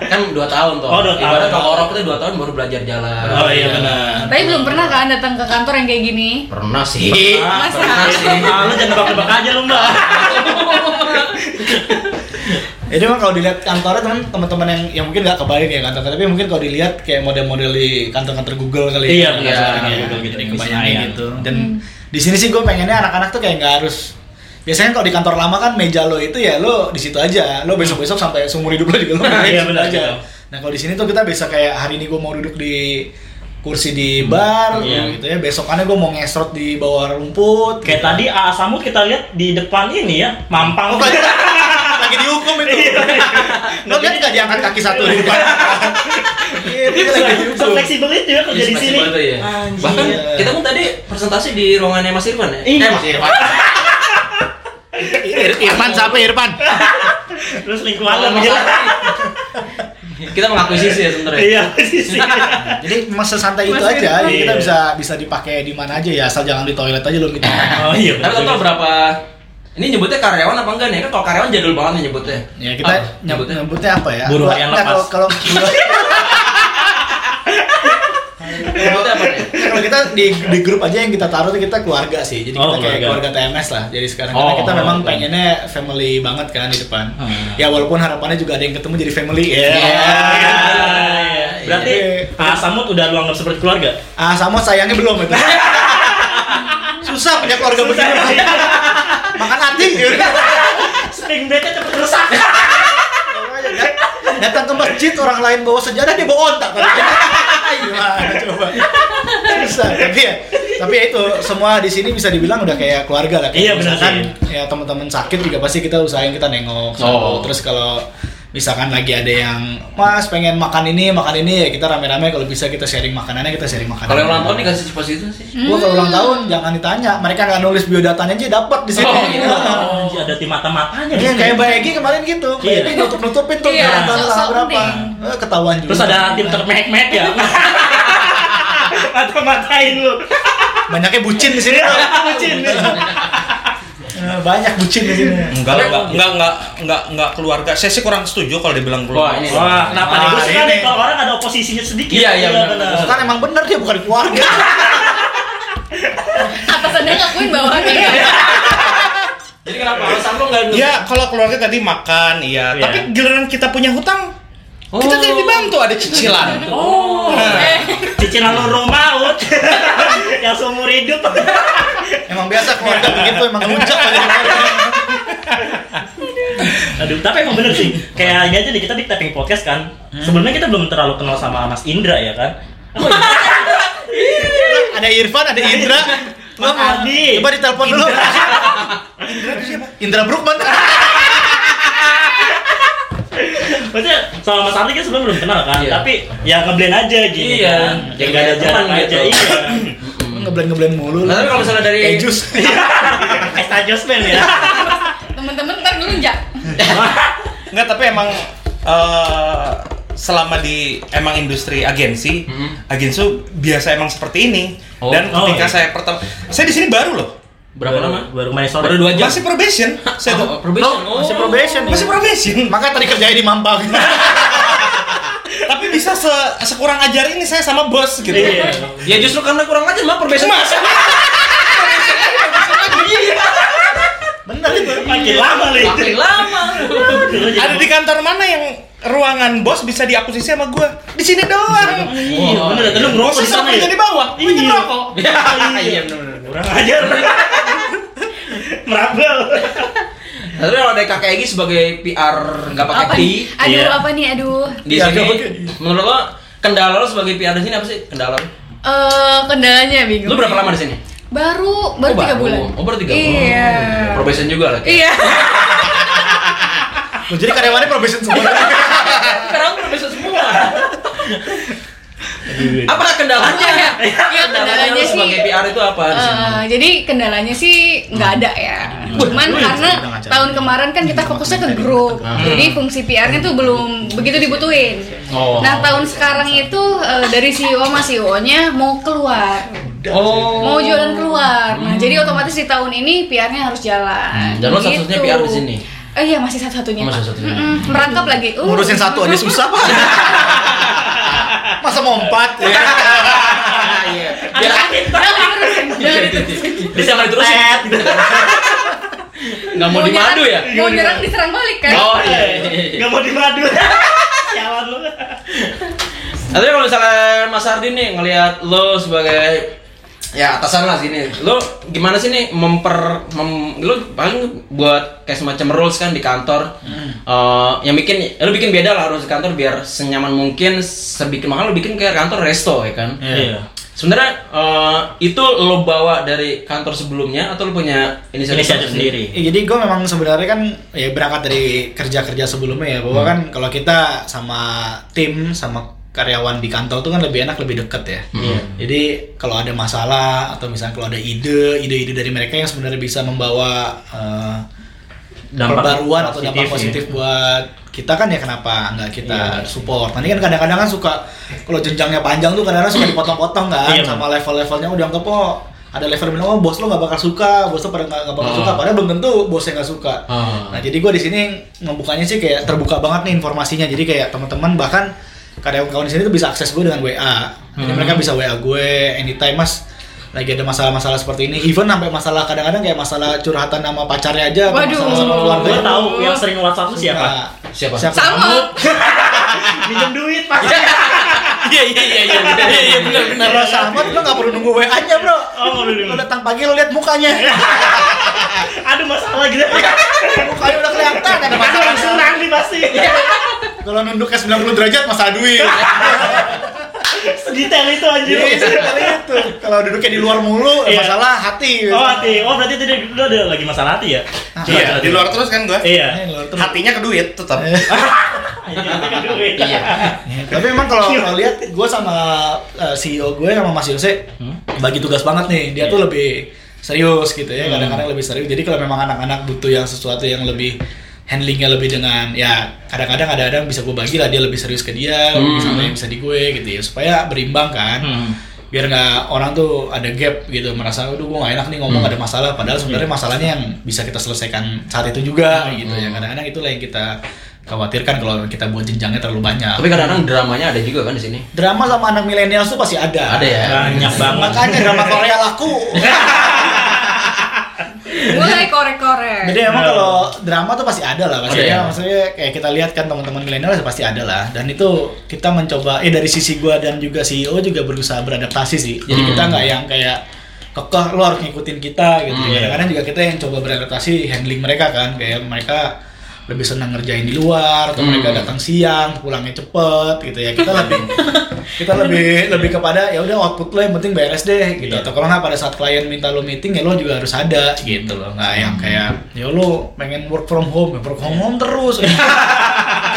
Speaker 1: kan dua tahun tuh
Speaker 2: Oh, dua tahun.
Speaker 1: ibarat kalau orang itu dua tahun baru belajar jalan
Speaker 2: Oh iya benar.
Speaker 6: Tapi belum pernah kan datang ke kantor yang kayak gini?
Speaker 1: pernah sih
Speaker 2: Ah,
Speaker 6: Masa?
Speaker 1: pernah sih
Speaker 2: Ah, lu jangan nebak-nebak aja lu, Mbak.
Speaker 3: jadi memang kalau dilihat kantornya teman teman-teman yang yang mungkin nggak kebayang ya kantor tapi mungkin kalau dilihat kayak model-model di kantor-kantor Google kali
Speaker 2: Iya,
Speaker 3: ya
Speaker 2: benar,
Speaker 1: kantor
Speaker 2: Google gitu,
Speaker 3: jadi
Speaker 2: yang
Speaker 3: kebayang
Speaker 2: isinya.
Speaker 3: gitu dan di sini sih gue pengennya anak-anak tuh kayak nggak harus biasanya kalau di kantor lama kan meja lo itu ya lo di situ aja lo besok-besok sampai seumur hidup lo juga lo di
Speaker 2: Iya,
Speaker 3: situ
Speaker 2: benar,
Speaker 3: aja
Speaker 2: benar.
Speaker 3: nah kalau di sini tuh kita bisa kayak hari ini gue mau duduk di kursi di bar
Speaker 2: Iya.
Speaker 3: gitu ya besokannya gue mau ngesrot di bawah rumput gitu.
Speaker 2: Kayak tadi A Samud kita lihat di depan ini ya, mampang.
Speaker 3: Oh, lagi, lagi dihukum itu. Iya. Lo lihat nggak diangkat kaki satu di depan? Iya, dia lagi dihukum.
Speaker 2: Fleksibel itu ya kerja di
Speaker 1: Masih
Speaker 2: sini.
Speaker 1: banget tuh ya.
Speaker 2: Anjir.
Speaker 1: bahkan kita pun tadi presentasi di ruangannya Mas Irfan ya
Speaker 2: Iya.
Speaker 1: eh Mas Irfan
Speaker 3: Ir- Irfan siapa Irfan?
Speaker 2: terus lingkungan lo menyerang
Speaker 1: Kita mengakui sisi ya sebenarnya.
Speaker 2: iya sih
Speaker 3: Jadi memang sesantai itu
Speaker 6: Mas,
Speaker 3: aja, jadi kita
Speaker 2: iya.
Speaker 3: bisa bisa dipakai di mana aja ya, asal jangan di toilet aja lo gitu.
Speaker 2: oh iya
Speaker 1: Tapi lo tau berapa ini nyebutnya karyawan apa enggak nih? Kan kalau karyawan jadul banget nih nyebutnya.
Speaker 3: Ya kita
Speaker 1: Ah,
Speaker 3: nyebut
Speaker 1: nyebutnya.
Speaker 3: nyebutnya apa ya?
Speaker 2: Buruh
Speaker 3: Gua-
Speaker 2: yang
Speaker 3: nggak,
Speaker 2: lepas.
Speaker 3: Kalau kalau
Speaker 1: Nyebutnya apa nih?
Speaker 3: kalau kita di di grup aja yang kita taruh tuh kita keluarga sih. Jadi
Speaker 2: Oh,
Speaker 3: kita kayak
Speaker 2: keluarga.
Speaker 3: keluarga TMS lah. Jadi sekarang
Speaker 2: Oh,
Speaker 3: karena kita memang
Speaker 2: betul.
Speaker 3: pengennya family banget kan di depan.
Speaker 2: Hmm.
Speaker 3: Ya walaupun harapannya juga ada yang ketemu jadi family. Ya.
Speaker 2: Ah, iya,
Speaker 1: Iya,
Speaker 2: berarti ah, Samud udah lu anggap seperti keluarga
Speaker 3: Ah sama sayangnya belum itu. Susah punya keluarga begini. Makan hati.
Speaker 2: spring bednya cepet rusak
Speaker 3: Datang ke masjid orang lain bawa sejadah dia bawa ontak. Gimana coba? Susah. Tapi ya, tapi ya itu semua di sini bisa dibilang udah kayak keluarga lah. Kayak
Speaker 2: Iya, benar
Speaker 3: misalkan ya teman-teman sakit juga pasti kita usahain kita nengok.
Speaker 1: Oh.
Speaker 3: Terus kalau misalkan lagi ada yang mas pengen makan ini makan ini ya kita rame-rame kalau bisa kita sharing makanannya kita sharing makanan.
Speaker 1: Kalau yang ulang tahun dikasih cepat itu sih.
Speaker 3: Gua kalau ulang tahun jangan ditanya, mereka nggak nulis biodatanya aja dapat di sini.
Speaker 1: Oh,
Speaker 3: Iya.
Speaker 2: oh iya, ada di mata matanya
Speaker 3: Iya, kayak Mbak Egi kemarin gitu. Mbak
Speaker 2: Iya.
Speaker 3: Egi nutup nutupin tuh
Speaker 6: Iya,
Speaker 3: ulang tahun
Speaker 6: sok-sok
Speaker 3: tanggal berapa.
Speaker 6: penting.
Speaker 3: Eh, ketahuan juga.
Speaker 2: terus ada tim termek-mek ya mata matain lu
Speaker 3: Banyaknya bucin di sini. bucin. Banyak bucin di sini.
Speaker 5: Enggak,
Speaker 1: Tapi-
Speaker 5: enggak, enggak, enggak, enggak, enggak keluarga. Saya sih kurang setuju kalau dibilang
Speaker 1: Wah,
Speaker 5: keluarga.
Speaker 1: ini.
Speaker 2: wah kenapa nih gue
Speaker 3: Wah,
Speaker 2: suka
Speaker 3: ini.
Speaker 2: nih kalau orang ada oposisinya sedikit
Speaker 1: Iya, iya,
Speaker 2: Gila,
Speaker 1: benar.
Speaker 2: benar.
Speaker 3: Kan emang bener dia bukan keluarga.
Speaker 6: Atasannya ngakuin bawahannya ya.
Speaker 1: Jadi kenapa alasan lo enggak
Speaker 5: Ya, kalau keluarga tadi makan, iya.
Speaker 2: Iya.
Speaker 5: Tapi giliran kita punya hutang, kita
Speaker 1: Oh.
Speaker 5: jadi dibantu ada cicilan.
Speaker 2: Oh,
Speaker 6: Eh,
Speaker 2: cicilan lu rumah, Ut. yang seumur hidup.
Speaker 3: Emang biasa keluarga begitu emang nguncak aja.
Speaker 2: Aduh, tapi emang bener sih. Kayak ini aja deh, kita di tapping podcast kan.
Speaker 1: Hmm.
Speaker 2: Sebenarnya kita belum terlalu kenal sama Mas Indra ya kan.
Speaker 3: Ada Irfan, ada Indra.
Speaker 2: Mas Ardi.
Speaker 3: Coba ditelepon dulu. Indra siapa? Indra Brookman.
Speaker 2: Maksudnya sama Mas Ardi kan sebenarnya belum kenal kan.
Speaker 1: Iya.
Speaker 2: Tapi ya ngeblend aja gitu
Speaker 1: Iya.
Speaker 2: kan. Ya
Speaker 1: Jadi
Speaker 2: nggak ada
Speaker 1: kayak
Speaker 2: jalan
Speaker 1: teman
Speaker 2: aja.
Speaker 1: gitu.
Speaker 2: Iya.
Speaker 3: Ngeblen ngeblen mulu.
Speaker 1: Nah, tapi kalau misalnya dari
Speaker 3: Kayak jus.
Speaker 2: Kayak adjustment ya.
Speaker 6: temen-temen ntar dulu njak.
Speaker 5: Enggak, tapi emang eh, selama di emang industri agensi,
Speaker 1: Hmm.
Speaker 5: agensi tuh biasa emang seperti ini.
Speaker 1: Oh.
Speaker 5: Dan
Speaker 2: Oh,
Speaker 5: ketika
Speaker 2: iya.
Speaker 5: saya pertama, saya di sini baru loh,
Speaker 1: berapa lama?
Speaker 2: Baru kemarin sore.
Speaker 1: Baru dua jam.
Speaker 5: masih probation. Saya
Speaker 1: Oh,
Speaker 5: tuh.
Speaker 1: probation.
Speaker 3: Oh, masih probation.
Speaker 5: masih probation.
Speaker 3: Makanya tadi kerjanya di Mampang.
Speaker 5: tapi bisa se sekurang ajar ini saya sama bos gitu.
Speaker 2: Iya.
Speaker 1: Ya justru karena kurang aja mah probation.
Speaker 5: Mas,
Speaker 3: Bener itu.
Speaker 2: Makin lama nih.
Speaker 1: Makin lama.
Speaker 5: ada di kantor mana yang ruangan bos bisa diakusisi sama gua? Di sini doang.
Speaker 2: Iya, bener. Dan Lu ngerokok
Speaker 5: Bosnya
Speaker 2: di sana
Speaker 5: sama
Speaker 2: ya.
Speaker 5: kerja di bawah. Gua
Speaker 2: Iya.
Speaker 5: ngerokok.
Speaker 1: Iya
Speaker 2: Iya.
Speaker 1: benar-benar.
Speaker 2: Kurang ajar. Merabel.
Speaker 1: Nah, Tapi kalau dari kakek Egi sebagai PR nggak pakai
Speaker 6: Apa
Speaker 1: T
Speaker 6: nih? Aduh,
Speaker 2: Iya.
Speaker 6: apa nih? Aduh.
Speaker 1: di
Speaker 3: Iya,
Speaker 1: sini,
Speaker 3: nggak pakai I.
Speaker 1: menurut lo kendala lo sebagai PR di sini apa sih kendala? lo?
Speaker 6: Eh, kendalanya bingung.
Speaker 1: Lo berapa lama di sini?
Speaker 6: Baru baru
Speaker 1: Oh,
Speaker 6: tiga bulan.
Speaker 1: Oh baru tiga bulan.
Speaker 6: Iya.
Speaker 1: Probation juga lah. kayak.
Speaker 6: Iya.
Speaker 3: Loh, jadi karyawannya probation semua.
Speaker 1: Sekarang probation semua. apa kendalanya?
Speaker 6: Iya, kendalanya
Speaker 1: lo sebagai
Speaker 6: sih
Speaker 1: PR itu apa di sini?
Speaker 6: Eh, jadi kendalanya sih nggak ada ya.
Speaker 1: Iya.
Speaker 6: Cuman
Speaker 3: Wih,
Speaker 6: karena
Speaker 3: udah ngajar.
Speaker 6: tahun kemarin kan kita fokusnya ke
Speaker 1: Iya.
Speaker 6: grup, jadi fungsi PR-nya tuh belum begitu dibutuhin.
Speaker 1: Oh.
Speaker 6: Nah tahun sekarang itu eh, dari CEO sama CEO-nya mau keluar,
Speaker 1: Oh.
Speaker 6: mau jualan keluar. Nah jadi otomatis di tahun ini PR-nya harus
Speaker 1: Hmm,
Speaker 6: jalan.
Speaker 1: dan lo satu-satunya PR di sini? Oh,
Speaker 6: Eh, iya masih satu-satunya.
Speaker 1: Masih
Speaker 6: Pak.
Speaker 1: satu-satunya.
Speaker 6: Mm-mm, merangkap lagi. Uh.
Speaker 3: ngurusin satu aja susah pak masa mau empat ya
Speaker 1: Iya.
Speaker 6: Jangan jangan diterusin, jangan diterusin.
Speaker 1: Bisa nggak diterusin? Nggak mau dimadu ya?
Speaker 6: nyerang- Mau nyerang diserang balik kan?
Speaker 1: Oh iya.
Speaker 2: Gak mau dimadu. Sialan lu.
Speaker 1: Nah, Tapi kalau misalnya Mas Ardi nih ngelihat lo sebagai ya atasan lah sini, lo gimana sih nih memper mem, lo paling buat kayak semacam rules kan di kantor eh, yang bikin lo bikin beda lah harus di kantor biar senyaman mungkin sebikin makan lo bikin kayak kantor resto ya kan.
Speaker 2: Iya.
Speaker 1: Sebenarnya eh, itu lo bawa dari kantor sebelumnya atau lo punya inisiatif,
Speaker 2: Inisiatif sendiri.
Speaker 3: Ya, jadi gue memang sebenarnya kan ya berangkat dari kerja-kerja sebelumnya ya bahwa kan kalau kita sama tim sama karyawan di kantor tuh kan lebih enak lebih deket ya
Speaker 1: Iya.
Speaker 3: jadi kalau ada masalah atau misalnya kalau ada ide ide-ide dari mereka yang sebenarnya bisa membawa eh,
Speaker 2: dampak
Speaker 3: perbaruan atau dampak
Speaker 2: ya.
Speaker 3: positif buat kita kan ya kenapa nggak
Speaker 2: Iya,
Speaker 3: kita support nanti kan kadang-kadang kan suka kalau jenjangnya panjang tuh kadang-kadang suka dipotong-potong kan
Speaker 2: Iya,
Speaker 3: sama level-levelnya udah anggap oh ada level yang bilang oh bos lo nggak bakal suka bos lo pada nggak nggak bakal
Speaker 2: Oh.
Speaker 1: Ah.
Speaker 3: suka padahal belum tentu bosnya nggak suka nah jadi gue di sini ngebukanya sih kayak terbuka banget nih informasinya jadi kayak teman-teman bahkan karyawan-karyawan di sini tuh bisa akses gue dengan WA
Speaker 2: Hmm.
Speaker 3: jadi mereka bisa WA gue anytime mas lagi ada masalah-masalah seperti ini even sampai masalah kadang-kadang kayak masalah curhatan sama pacarnya aja atau
Speaker 6: Waduh.
Speaker 2: iya.
Speaker 3: masalah sama keluarga Nah,
Speaker 2: Gue Oh, tahu yang sering WhatsApp tuh siapa?
Speaker 1: Siapa?
Speaker 6: Sama.
Speaker 2: Minjem duit pak.
Speaker 1: Iya iya iya iya. Iya iya benar benar.
Speaker 3: Kalau sama lo nggak perlu nunggu WA-nya bro.
Speaker 2: Oh, nggak perlu nunggu.
Speaker 3: Lo datang pagi lo lihat
Speaker 2: Iya.
Speaker 3: mukanya.
Speaker 2: Aduh masalah gitu.
Speaker 3: Mukanya udah kelihatan ada
Speaker 2: Masalah
Speaker 3: masalah.
Speaker 2: langsung nanti pasti.
Speaker 3: Kalau nunduk ke 90 derajat masalah duit.
Speaker 2: Sedetail itu anjir.
Speaker 3: Jadi seperti itu. Kalau duduknya di luar mulu
Speaker 2: Iya.
Speaker 3: masalah hati.
Speaker 2: Oh hati. Oh berarti tadi lu ada lagi masalah hati ya?
Speaker 5: Iya, di luar terus kan gue.
Speaker 2: Iya.
Speaker 3: Eh, luar terus.
Speaker 5: Hatinya ke duit tetap.
Speaker 3: Eh, Iya.
Speaker 2: Anjir, nanti kan duit.
Speaker 1: Iya.
Speaker 3: Tapi emang kalau
Speaker 5: Iya.
Speaker 3: kalau lihat gue sama eh, CEO gue sama Mas Yose bagi tugas banget nih. Dia tuh lebih serius gitu ya. Kadang-kadang lebih serius. Jadi kalau memang anak-anak butuh yang sesuatu yang lebih handlingnya lebih dengan ya kadang-kadang ada kadang bisa gue bagi lah dia lebih serius ke dia, lebih santai yang bisa di gue gitu ya supaya berimbang kan.
Speaker 2: Hmm.
Speaker 3: biar nggak orang tuh ada gap gitu merasa aduh gue gak enak nih ngomong ada masalah padahal sebenarnya masalahnya yang bisa kita selesaikan saat itu juga gitu ya kadang-kadang itulah yang kita khawatirkan kalau kita buat jenjangnya terlalu banyak
Speaker 1: Tapi kadang-kadang dramanya ada juga kan di sini.
Speaker 3: drama sama anak milenial tuh pasti ada
Speaker 1: Ada ya.
Speaker 2: Banyak banget.
Speaker 3: makanya drama Korea laku
Speaker 6: Mulai korek-korek.
Speaker 3: jadi emang kalau drama tuh pasti ada lah pasti
Speaker 1: Iya. Ada ya?
Speaker 3: ya. maksudnya kayak kita lihat kan teman-teman milenial pasti ada lah dan itu kita mencoba eh dari sisi gua dan juga CEO juga berusaha beradaptasi sih jadi kita
Speaker 1: Hmm.
Speaker 3: nggak yang kayak kekeh lo harus ngikutin kita gitu
Speaker 1: Hmm.
Speaker 3: kadang-kadang juga kita yang coba beradaptasi handling mereka kan kayak mereka lebih senang ngerjain di luar atau mereka
Speaker 1: Hmm.
Speaker 3: datang siang pulangnya cepet gitu ya kita lebih kita lebih lebih kepada ya udah output lo yang penting beres deh gitu atau kalau nggak pada saat klien minta lo meeting ya lo juga harus ada gitu loh nggak yang kayak ya lo pengen work from home ya work from home terus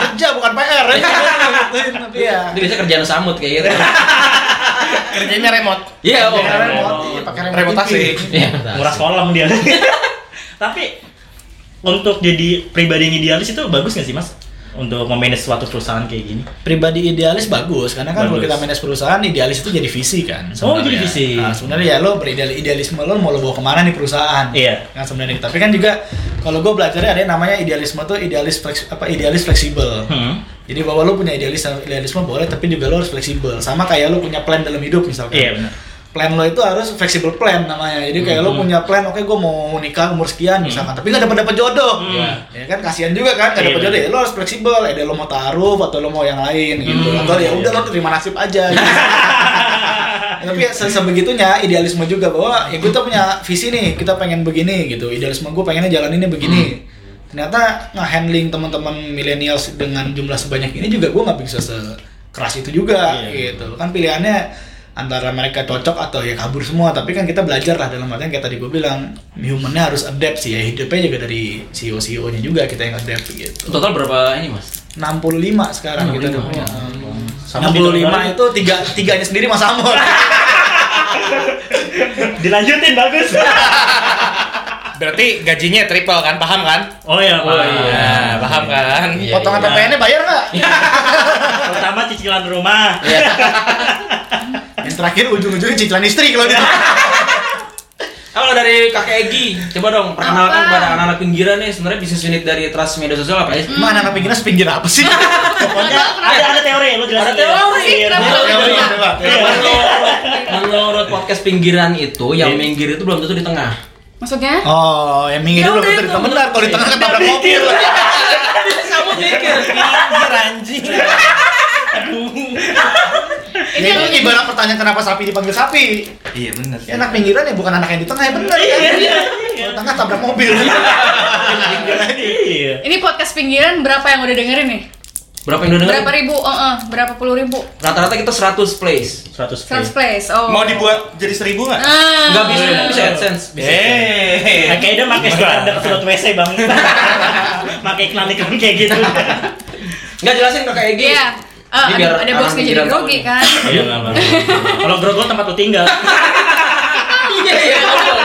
Speaker 3: kerja bukan PR ya Gituin, tapi ya
Speaker 1: Itu biasanya kerjaan samut kayak gitu.
Speaker 5: Kerjanya remote.
Speaker 1: Iya, oh.
Speaker 3: pakai remote iya, pakai remote
Speaker 5: Remotasi.
Speaker 3: TV.
Speaker 1: Iya.
Speaker 2: Nguras kolam dia. Tapi untuk jadi pribadi yang idealis itu bagus nggak sih mas? Untuk memanage suatu perusahaan kayak gini.
Speaker 3: pribadi idealis bagus karena kan kalau
Speaker 2: Bagus.
Speaker 3: kita manage perusahaan idealis itu jadi visi kan
Speaker 2: Oh,
Speaker 3: sebenarnya.
Speaker 2: jadi visi.
Speaker 3: nah, sebenarnya ya lo berideal idealisme lo mau lo bawa kemana nih perusahaan
Speaker 2: Iya.
Speaker 3: kan sebenarnya tapi kan juga kalau gue belajarnya ada yang namanya idealisme tuh idealis fleks- apa idealis fleksibel
Speaker 2: Hmm.
Speaker 3: jadi bahwa lo punya idealis idealisme boleh tapi juga lo harus fleksibel sama kayak lo punya plan dalam hidup misalkan
Speaker 2: Iya benar.
Speaker 3: plan lo itu harus fleksibel plan namanya jadi kayak
Speaker 2: Hmm.
Speaker 3: lo punya plan oke gue mau nikah umur sekian misalkan tapi nggak dapat dapat jodoh ya kan kasihan juga kan nggak
Speaker 2: Hmm. Iya,
Speaker 3: dapat jodoh ya lo harus fleksibel ada lo mau taruh atau lo mau yang lain gitu atau ya
Speaker 2: iya,
Speaker 3: udah
Speaker 2: iya.
Speaker 3: lo terima nasib aja gitu. tapi ya se- sebegitunya idealisme juga bahwa ya gue tuh punya visi nih kita pengen begini gitu idealisme gue pengennya jalan ini begini
Speaker 2: Hmm.
Speaker 3: ternyata nge-handling teman-teman millennials dengan jumlah sebanyak ini juga gue nggak bisa sekeras itu
Speaker 2: Iya,
Speaker 3: juga gitu kan pilihannya antara mereka cocok atau ya kabur semua tapi kan kita belajar lah dalam artian kayak tadi gue bilang humannya harus adapt sih ya hidupnya juga dari E CEO CEO nya juga kita yang adapt gitu
Speaker 1: Total berapa ini, Mas?
Speaker 3: 65 sekarang kita
Speaker 1: 65,
Speaker 3: punya.
Speaker 1: ya.
Speaker 2: Sama
Speaker 3: 65 itu tiga tiganya sendiri mas Amor
Speaker 2: Dilanjutin bagus.
Speaker 5: Berarti gajinya triple kan, paham kan?
Speaker 2: Oh iya, Pak.
Speaker 5: Nah, paham kan?
Speaker 1: Iya,
Speaker 3: potongan
Speaker 2: iya.
Speaker 3: PPN nya bayar nggak
Speaker 2: Pertama cicilan rumah.
Speaker 1: Iya.
Speaker 3: yang terakhir ujung-ujungnya cicilan istri kalau dia
Speaker 1: Kalau dari Kakek Egi, coba dong perkenalkan
Speaker 6: Apa?
Speaker 1: kepada anak-anak pinggiran nih sebenarnya bisnis unit dari Trans Media Sosial apa ya? sih?
Speaker 3: mana anak pinggiran sepinggir apa sih Iya,
Speaker 2: Pokoknya ada ada teori lu
Speaker 1: Ada
Speaker 2: jelasin.
Speaker 1: teori.
Speaker 6: Sih, kenapa
Speaker 2: Iya.
Speaker 6: lo
Speaker 3: Teori,
Speaker 6: berdua?
Speaker 3: coba.
Speaker 1: Menurut- Menurut podcast pinggiran itu yang
Speaker 2: Iya.
Speaker 1: minggir itu belum tentu di tengah.
Speaker 6: Maksudnya?
Speaker 3: oh yang minggir
Speaker 6: Ya
Speaker 3: dulu
Speaker 6: udah,
Speaker 3: betul
Speaker 6: itu.
Speaker 3: benar kalau di tengah kan tabrak mobil
Speaker 1: Kamu mikir.
Speaker 5: Anjir anjing.
Speaker 3: ini
Speaker 6: Ini yang-
Speaker 3: ibarat pertanyaan kenapa sapi dipanggil sapi
Speaker 5: Iya benar.
Speaker 3: Ya, anak pinggiran ya bukan anak yang di tengah ya benar ya.
Speaker 6: Iya.
Speaker 3: Kalau tengah tabrak mobil.
Speaker 2: Iya.
Speaker 6: Ini podcast pinggiran berapa yang udah dengerin nih?
Speaker 1: Berapa yang udah dengar?
Speaker 6: Berapa ribu? Oh, eh, berapa puluh ribu?
Speaker 1: Rata-rata kita 100 plays.
Speaker 2: 100
Speaker 6: 100 plays. Oh.
Speaker 5: Mau dibuat jadi seribu nggak?
Speaker 6: Ah.
Speaker 1: Enggak bisa, bisa ya? AdSense. Bisa.
Speaker 5: Eh,
Speaker 2: Nah, kayaknya pakai standar surat WC bang, pakai iklan iklan kayak gitu.
Speaker 1: Enggak jelasin Kakek Egi.
Speaker 6: Iya. Ah,
Speaker 1: Jadi biar
Speaker 6: ada, ada
Speaker 1: orang
Speaker 6: bosnya jadi
Speaker 1: pinggiran
Speaker 6: grogi
Speaker 1: tahu.
Speaker 6: kan.
Speaker 2: Iya nggak apa-apa. Kalau grogol tempat lu tinggal.
Speaker 1: Iya, iya. betul.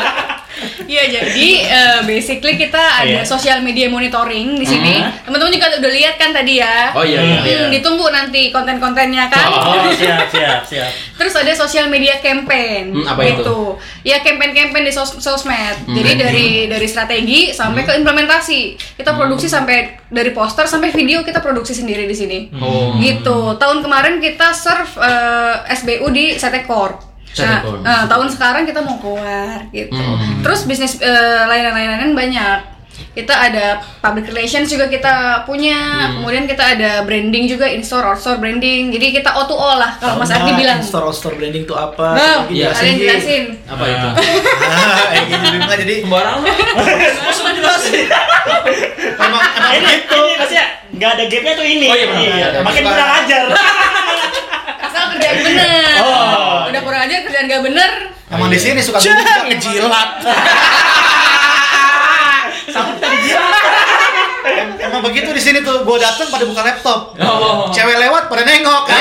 Speaker 6: Iya jadi eh, basically kita ada
Speaker 2: Iya.
Speaker 6: social media monitoring di sini. Teman-teman juga udah lihat kan tadi ya.
Speaker 1: Oh iya iya. iya.
Speaker 6: Hmm, ditunggu nanti konten-kontennya kan.
Speaker 2: Oh, siap, siap, siap.
Speaker 6: Terus ada social media campaign
Speaker 1: Hmm, apa Hmm,
Speaker 6: gitu. Ya campaign-campaign di sos- sosmed. Jadi dari dari strategi sampai ke implementasi. Kita
Speaker 1: Hmm.
Speaker 6: produksi sampai dari poster sampai video kita produksi sendiri di sini.
Speaker 1: Oh.
Speaker 6: Gitu. Tahun kemarin kita serve eh, SBU di CT Corp. Nah,
Speaker 1: CT Corp.
Speaker 6: eh, tahun sekarang kita mau keluar gitu.
Speaker 1: Hmm.
Speaker 6: Terus bisnis eh, layanan-layanan banyak. Kita ada public relations juga kita
Speaker 1: Hmm.
Speaker 6: punya. Kemudian kita ada branding juga in-store out-store branding. Jadi kita O2O lah kalau Mas Ardi bilang.
Speaker 3: store store branding itu apa?
Speaker 6: Nah,
Speaker 3: Lagi
Speaker 1: iya.
Speaker 6: kalian jelasin.
Speaker 1: Apa itu?
Speaker 3: Ah, kayak gini Bima. jadi
Speaker 1: Sembarang lah. Semua sudah jelasin.
Speaker 3: emang emang
Speaker 2: Ini, ini maksudnya nggak ada gapnya tuh ini.
Speaker 1: Oh, iya, benar.
Speaker 3: Ada
Speaker 2: Makin
Speaker 3: gapnya.
Speaker 2: kurang ajar.
Speaker 6: Asal kerjaan bener.
Speaker 2: Oh.
Speaker 6: Udah kurang aja kerjaan gak bener.
Speaker 3: emang di sini suka
Speaker 5: Cah, ngejilat.
Speaker 3: Em- Emang begitu di sini tuh, gue dateng pada buka laptop,
Speaker 1: Oh.
Speaker 3: cewek lewat pada nengok.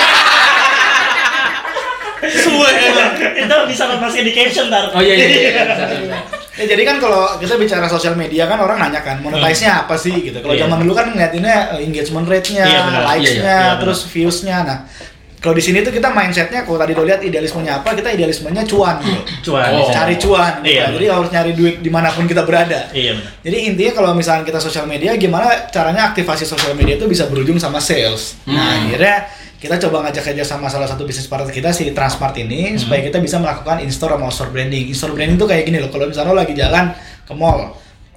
Speaker 5: Suwe emang.
Speaker 2: Itu bisa masukin di caption ntar.
Speaker 1: Oh iya iya. iya. Bisa, bisa.
Speaker 3: ya jadi kan kalau kita bicara sosial media kan orang nanya kan monetize-nya apa sih gitu. Kalau
Speaker 2: Iya.
Speaker 3: zaman dulu kan ngeliatinnya eh, engagement rate-nya,
Speaker 2: Iya, benar.
Speaker 3: likes-nya,
Speaker 2: Iya, iya. Iya,
Speaker 3: terus views-nya. Nah, kalau di sini tuh kita mindset-nya kalau tadi lo lihat idealismenya apa, kita idealismenya cuan gitu.
Speaker 2: Cuan.
Speaker 1: Oh.
Speaker 2: bisa.
Speaker 3: Cari cuan. gitu.
Speaker 2: Iya,
Speaker 3: Nah,
Speaker 2: benar.
Speaker 3: jadi harus nyari duit dimanapun kita berada.
Speaker 2: Iya benar.
Speaker 3: Jadi intinya kalau misalnya kita sosial media, gimana caranya aktivasi sosial media itu bisa berujung sama sales. Nah
Speaker 2: Hmm.
Speaker 3: akhirnya kita coba ngajak kerja sama salah satu bisnis partner kita si Transmart
Speaker 2: Hmm.
Speaker 3: ini supaya kita bisa melakukan in-store sama outdoor branding. In-store branding itu kayak gini loh, kalau misalnya lo lagi jalan ke mall,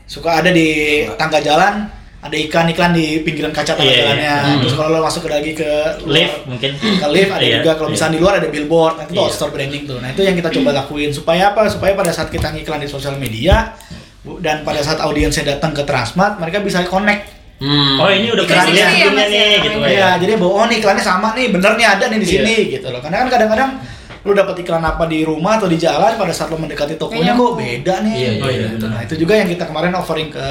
Speaker 3: suka ada di tangga jalan ada ikan iklan di pinggiran kaca tangga
Speaker 2: Iya, iya.
Speaker 3: jalannya.
Speaker 2: Hmm.
Speaker 3: Terus kalau lo masuk ke lagi ke
Speaker 2: Lift mungkin.
Speaker 3: ke lift ada
Speaker 2: Iya,
Speaker 3: juga kalau
Speaker 2: iya.
Speaker 3: misalnya di luar ada billboard nah itu
Speaker 2: Iya.
Speaker 3: outdoor branding tuh nah itu yang kita coba lakuin supaya apa supaya pada saat kita ngiklan di sosial media bu- dan pada saat audiensnya datang ke Transmart mereka bisa connect
Speaker 1: Hmm.
Speaker 2: Oh ini udah pernah
Speaker 3: Iklan
Speaker 2: lihat
Speaker 3: sih,
Speaker 6: iya,
Speaker 2: sebelumnya nih
Speaker 6: Mas, ya.
Speaker 2: gitu
Speaker 3: Iya,
Speaker 2: ya.
Speaker 3: jadi bahwa oh nih iklannya sama nih bener nih ada nih di
Speaker 2: Iya.
Speaker 3: sini gitu loh karena kan kadang-kadang lu dapat iklan apa di rumah atau di jalan pada saat lu mendekati tokonya
Speaker 6: Iya.
Speaker 3: kok beda nih
Speaker 1: Iya, iya,
Speaker 3: Oh,
Speaker 1: iya,
Speaker 3: gitu.
Speaker 1: benar.
Speaker 3: nah itu juga yang kita kemarin offering ke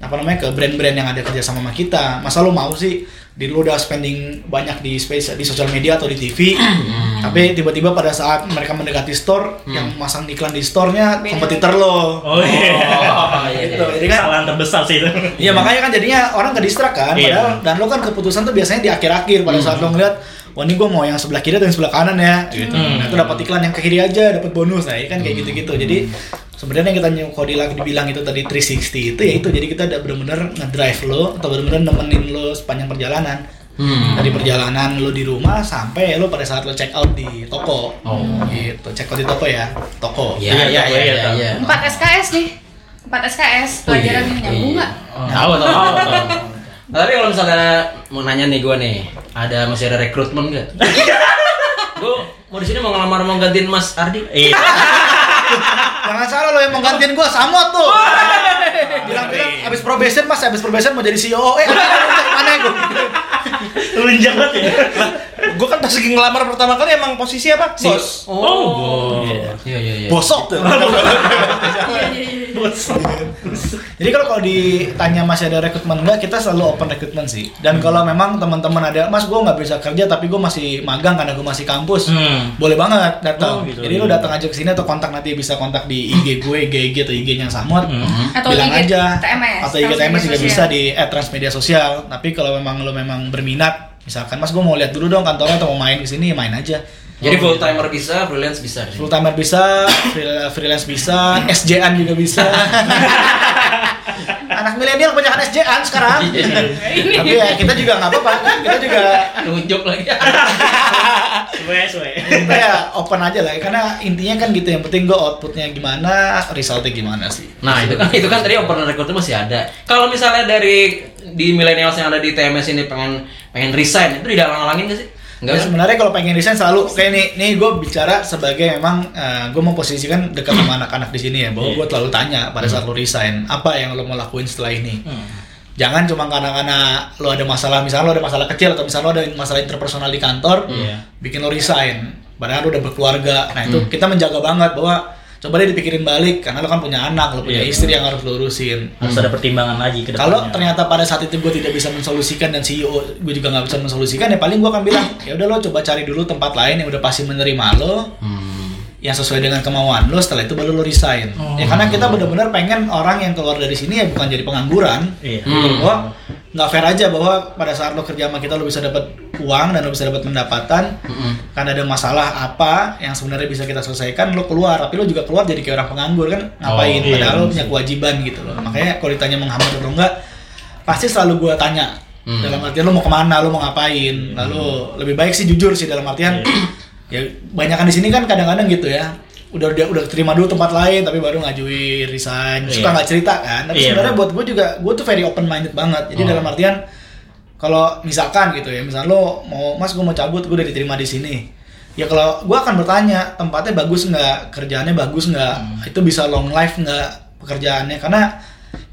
Speaker 3: apa namanya ke brand-brand yang ada kerja sama sama kita masa lu mau sih di lu udah spending banyak di space di sosial media atau di TV tapi tiba-tiba pada saat mereka mendekati store yang masang iklan di store-nya
Speaker 6: Beda.
Speaker 3: kompetitor lo
Speaker 2: Oh iya.
Speaker 1: Oh, iya, iya.
Speaker 3: gitu jadi kan
Speaker 2: Kesalahan terbesar sih itu.
Speaker 3: Iya makanya kan jadinya orang ke distrak kan,
Speaker 2: Iya.
Speaker 3: padahal dan lo kan keputusan tuh biasanya di akhir-akhir pada saat lo ngeliat, wah ini gue mau yang sebelah kiri dan sebelah kanan ya, gitu.
Speaker 2: Hmm.
Speaker 3: Nah itu dapat iklan yang ke kiri aja, dapat bonus, nah ini kan kayak gitu-gitu. Jadi sebenarnya yang kita ny- kalau dila- dibilang itu tadi 360 itu ya itu, jadi kita ada bener-bener ngedrive lo atau bener-bener nemenin lo sepanjang perjalanan
Speaker 1: Hmm.
Speaker 3: dari perjalanan lo di rumah sampai lo pada saat lo check out di toko,
Speaker 1: Oh.
Speaker 3: gitu. Check out di toko ya, toko.
Speaker 1: Iya iya iya iya, iya.
Speaker 6: 4 SKS nih. 4 SKS.
Speaker 1: Oh,
Speaker 6: Pelajaran yang nyambung nggak?
Speaker 1: Tahu tahu. iya. tahu. Nah, tapi kalau misalnya mau nanya nih gue nih, ada masih ada rekrutmen nggak? gue mau di sini mau ngelamar mau gantiin Mas Ardi.
Speaker 2: Iya.
Speaker 3: Jangan salah lo yang mau gantiin gue sama tuh. Bilang-bilang abis probation mas, abis probation mau jadi CEO. Eh, mana gue?
Speaker 2: Lunjak banget ya.
Speaker 5: Gue kan pas lagi ngelamar pertama kali emang posisi apa? Bos.
Speaker 2: Oh,
Speaker 1: Iya iya iya.
Speaker 3: Bosok tuh.
Speaker 2: bos.
Speaker 3: Jadi kalau kalau ditanya masih ada rekrutmen enggak, kita selalu open rekrutmen sih.
Speaker 1: Hmm.
Speaker 3: Dan kalau memang teman-teman ada, mas gue nggak bisa kerja tapi gue masih magang karena gue masih kampus.
Speaker 2: Hmm.
Speaker 3: Boleh banget
Speaker 2: Oh,
Speaker 3: datang.
Speaker 2: gitu.
Speaker 3: Jadi lo datang aja ke sini atau kontak nanti bisa kontak di IG gue, IG atau IG-nya Samot.
Speaker 2: Hmm.
Speaker 6: Atau
Speaker 3: bilang
Speaker 6: IG
Speaker 3: aja
Speaker 6: TMS,
Speaker 3: atau IG
Speaker 6: transmedia
Speaker 3: TMS juga
Speaker 6: sosial.
Speaker 3: bisa di eh, transmedia sosial tapi kalau memang lo memang berminat misalkan mas gue mau lihat dulu dong kantornya atau mau main ke sini main aja
Speaker 1: Jadi full timer bisa, freelance bisa. di sini.
Speaker 3: full timer bisa freel- freelance bisa SJN juga bisa anak milenial kebanyakan SJN sekarang
Speaker 6: Iya.
Speaker 3: tapi ya kita juga nggak apa-apa kita juga
Speaker 1: Tunjuk Iya. lagi.
Speaker 2: Suwe, suwe.
Speaker 3: kita ya open aja lah karena intinya kan gitu yang penting gue outputnya gimana resultnya gimana sih
Speaker 1: Nah itu kan itu kan tadi open recruitment masih ada. Kalau misalnya dari di millennials yang ada di TMS ini pengen pengen resign itu tidak langin nggak sih? Nggak
Speaker 3: Ya,
Speaker 1: kan?
Speaker 3: sebenarnya kalau pengen resign selalu kayak nih, nih gue bicara sebagai memang gue mau posisikan dekat sama anak-anak di sini ya, bahwa
Speaker 2: Iya.
Speaker 3: gue selalu tanya pada
Speaker 2: Hmm.
Speaker 3: saat lo resign apa yang lo mau lakuin setelah ini. Jangan cuma karena-karena lo ada masalah, misalnya lo ada masalah kecil atau misalnya lo ada masalah interpersonal di kantor,
Speaker 2: Iya. Hmm.
Speaker 3: bikin lo resign. Padahal lo udah berkeluarga. Nah itu kita menjaga banget bahwa coba deh dipikirin balik karena lo kan punya anak, lo punya
Speaker 2: Iya.
Speaker 3: istri yang harus lo urusin.
Speaker 2: Harus ada pertimbangan lagi ke depannya.
Speaker 3: Kalau ternyata pada saat itu gue tidak bisa mensolusikan dan CEO gue juga nggak bisa mensolusikan ya paling gue akan bilang ya udah lo coba cari dulu tempat lain yang udah pasti menerima lo.
Speaker 1: Hmm.
Speaker 3: yang sesuai dengan kemauan lo setelah itu baru lo resign ya karena kita benar-benar pengen orang yang keluar dari sini ya bukan jadi pengangguran
Speaker 2: Iya.
Speaker 1: Hmm.
Speaker 3: bahwa nggak fair aja bahwa pada saat lo kerja sama kita lo bisa dapat uang dan lo bisa dapat pendapatan
Speaker 1: Mm-mm.
Speaker 3: karena Kan ada masalah apa yang sebenarnya bisa kita selesaikan lo keluar tapi lo juga keluar jadi kayak orang penganggur kan ngapain
Speaker 2: Oh, iya,
Speaker 3: padahal lo
Speaker 2: bener
Speaker 3: punya kewajiban gitu loh makanya kalau ditanya menghambat atau enggak pasti selalu gua tanya
Speaker 1: Hmm.
Speaker 3: dalam artian lo mau kemana lo mau
Speaker 2: Hmm.
Speaker 3: ngapain lalu lebih baik sih jujur sih dalam artian
Speaker 2: Iya.
Speaker 3: ya banyakan di sini kan kadang-kadang gitu ya udah udah udah terima dulu tempat lain tapi baru ngajuin resign suka
Speaker 2: Iya.
Speaker 3: nggak cerita kan tapi
Speaker 2: Iya,
Speaker 3: sebenarnya
Speaker 2: bener.
Speaker 3: buat gue juga gue tuh very open minded banget jadi
Speaker 1: Oh.
Speaker 3: dalam artian kalau misalkan gitu ya misal lo mau mas gue mau cabut gue udah diterima di sini ya kalau gue akan bertanya tempatnya bagus nggak kerjaannya bagus nggak itu bisa long life nggak pekerjaannya karena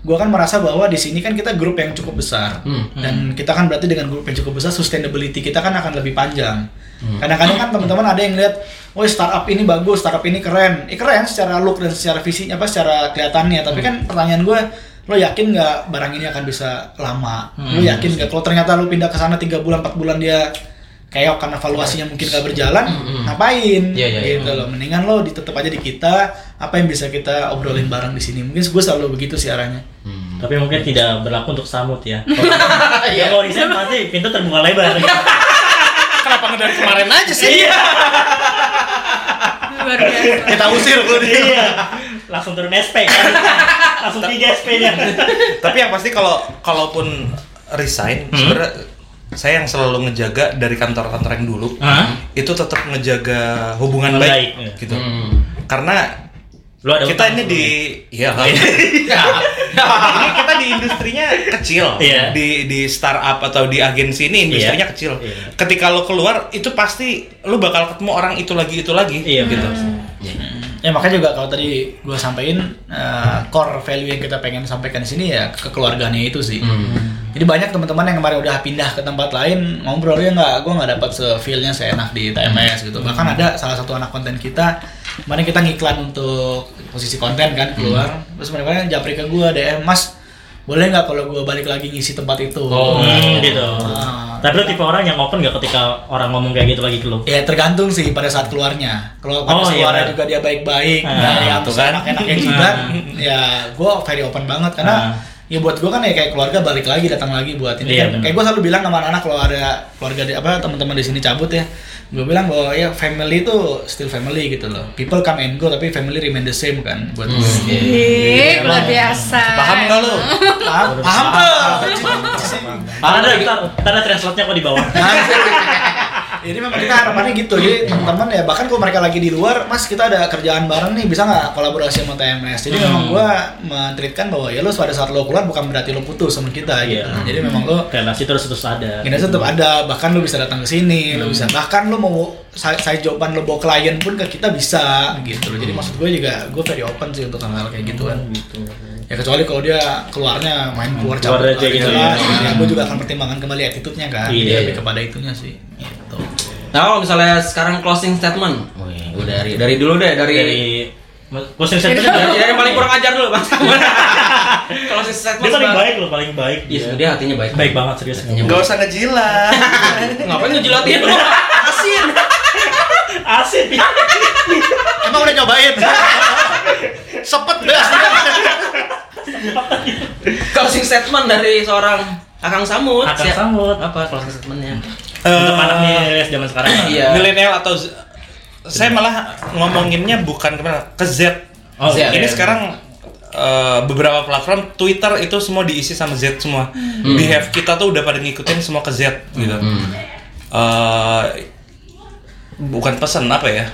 Speaker 3: gue kan merasa bahwa di sini kan kita grup yang cukup besar
Speaker 1: Hmm.
Speaker 3: dan kita kan berarti dengan grup yang cukup besar sustainability kita kan akan lebih panjang kadang-kadang kan teman-teman ada yang lihat oh startup ini bagus startup ini keren eh, keren secara look dan secara visi apa secara kelihatannya tapi kan pertanyaan gue lo yakin nggak barang ini akan bisa lama lo yakin nggak kalau ternyata lo pindah ke sana tiga bulan 4 bulan dia keok karena valuasinya mungkin nggak berjalan ngapain
Speaker 1: Iya, iya, iya.
Speaker 3: gitu loh mendingan lo ditetap aja di kita apa yang bisa kita obrolin bareng di sini mungkin gue selalu begitu sih arahnya
Speaker 2: Tapi mungkin tidak berlaku untuk samut ya. Kalau-
Speaker 1: Hmm.
Speaker 2: Ya, Kalau resign pasti pintu terbuka lebar. Iya.
Speaker 5: Kenapa nggak dari kemarin aja sih?
Speaker 6: Luar biasa.
Speaker 3: kita usir lo di
Speaker 2: Iya. Langsung turun SP. kan? Langsung tiga SP-nya.
Speaker 5: Tapi yang pasti kalau kalaupun resign,
Speaker 2: Hmm?
Speaker 5: sebenarnya saya yang selalu ngejaga dari kantor-kantor yang dulu itu tetap ngejaga hubungan
Speaker 2: Baik,
Speaker 5: baik,
Speaker 2: iya.
Speaker 5: gitu.
Speaker 1: Hmm.
Speaker 5: Karena
Speaker 2: Lu ada
Speaker 5: kita
Speaker 2: utang
Speaker 5: ini di iya
Speaker 2: Oh,
Speaker 5: Ini kita di industrinya kecil
Speaker 2: Ya. Iya.
Speaker 5: di di startup atau di agensi ini industrinya
Speaker 2: Iya.
Speaker 5: kecil
Speaker 2: Iya.
Speaker 5: ketika lo keluar itu pasti lo bakal ketemu orang itu lagi itu lagi
Speaker 2: Iya,
Speaker 5: gitu
Speaker 3: ya makanya juga kalau tadi gue sampaikan eh, core value yang kita pengen sampaikan di sini ya kekeluarganya itu sih jadi banyak teman-teman yang kemarin udah pindah ke tempat lain ngobrolnya nggak gue nggak dapat se-feelnya seenak di TMS gitu bahkan ada salah satu anak konten kita kemarin kita ngiklan untuk posisi konten kan keluar terus mereka japri ke gue DM mas boleh nggak kalau gue balik lagi ngisi tempat itu
Speaker 1: Oh.
Speaker 2: Hmm, gitu.
Speaker 3: Ah.
Speaker 2: Tapi lu tipe orang yang open gak ketika orang ngomong kayak gitu lagi ke lu?
Speaker 3: Ya tergantung sih pada saat keluarnya.
Speaker 2: Oh,
Speaker 3: Kalau pada saat
Speaker 2: iya,
Speaker 3: keluarnya
Speaker 2: benar.
Speaker 3: juga dia baik-baik, nah,
Speaker 2: Ah,
Speaker 3: nggak yang
Speaker 5: tuh kan.
Speaker 3: enak-enaknya jidat, ya gue very open banget karena
Speaker 2: Ah.
Speaker 3: ya buat gue kan ya kayak keluarga balik lagi datang lagi buat ini.
Speaker 2: Iya,
Speaker 3: kan.
Speaker 2: benar.
Speaker 3: Kayak gue selalu bilang sama anak-anak kalau ada keluarga di, apa teman-teman di sini cabut ya, gue bilang bahwa ya family itu still family gitu loh. People come and go tapi family remain the same kan buat
Speaker 2: Hmm,
Speaker 3: gue.
Speaker 6: Ih, luar biasa.
Speaker 5: paham nggak lo
Speaker 3: Paham? Paham tuh.
Speaker 2: Tanda, tanda, tanda translate-nya kok di bawah.
Speaker 3: Jadi memang kita harapannya gitu. Jadi teman-teman ya bahkan kalau mereka lagi di luar, Mas kita ada kerjaan bareng nih, bisa nggak kolaborasi sama TMS? Jadi memang gua mentreatkan bahwa ya lo pada saat lo keluar bukan berarti lo putus sama kita gitu.
Speaker 2: Iya.
Speaker 3: Jadi memang lo
Speaker 2: Relasi terus-terus ada.
Speaker 3: Indonesia tetap ada, bahkan lo bisa datang ke sini, lo bisa bahkan lo mau saya saya jawaban lo bawa klien pun ke kita bisa gitu. Jadi maksud gue juga gue very open sih untuk hal-hal kayak gituan.
Speaker 2: Gitu.
Speaker 3: Ya kecuali kalau dia keluarnya main keluar
Speaker 2: Keluar
Speaker 3: cabut
Speaker 2: aja gitu
Speaker 3: jelas,
Speaker 2: ya.
Speaker 3: ya, gue juga akan pertimbangkan kembali attitude-nya kan.
Speaker 2: Iya,
Speaker 3: Jadi
Speaker 2: iya.
Speaker 3: lebih kepada itunya sih. Gitu.
Speaker 1: Nah, kalau misalnya sekarang closing statement. Wih, udah dari dari dulu deh dari
Speaker 2: Dari closing statement
Speaker 1: dari,
Speaker 2: dia,
Speaker 1: dari yang paling kurang ajar dulu, Bang. closing statement.
Speaker 2: dia paling
Speaker 1: Bang.
Speaker 2: baik loh, paling baik.
Speaker 1: Iya, dia Iya. hatinya baik.
Speaker 2: baik banget serius.
Speaker 1: Hatinya
Speaker 5: nggak usah ngejilat
Speaker 1: Ngapain ngejilatin lu? Asin.
Speaker 2: Asik.
Speaker 3: Emang udah nyobain? Sepet dah.
Speaker 1: Closing statement dari seorang Akang Samud.
Speaker 2: Akang
Speaker 1: Siap-
Speaker 2: Samud.
Speaker 1: Apa closing statementnya?
Speaker 2: Untuk anak
Speaker 5: Eh,
Speaker 2: milenial zaman sekarang.
Speaker 1: Iya.
Speaker 5: milenial atau Z- saya malah ngomonginnya bukan kemana ke Z
Speaker 2: Oh,
Speaker 1: Siap.
Speaker 5: ini
Speaker 2: iya.
Speaker 5: sekarang eh, beberapa platform Twitter itu semua diisi sama Z semua
Speaker 2: Hmm.
Speaker 5: behave kita tuh udah pada ngikutin semua ke Z gitu Eh, bukan pesan apa ya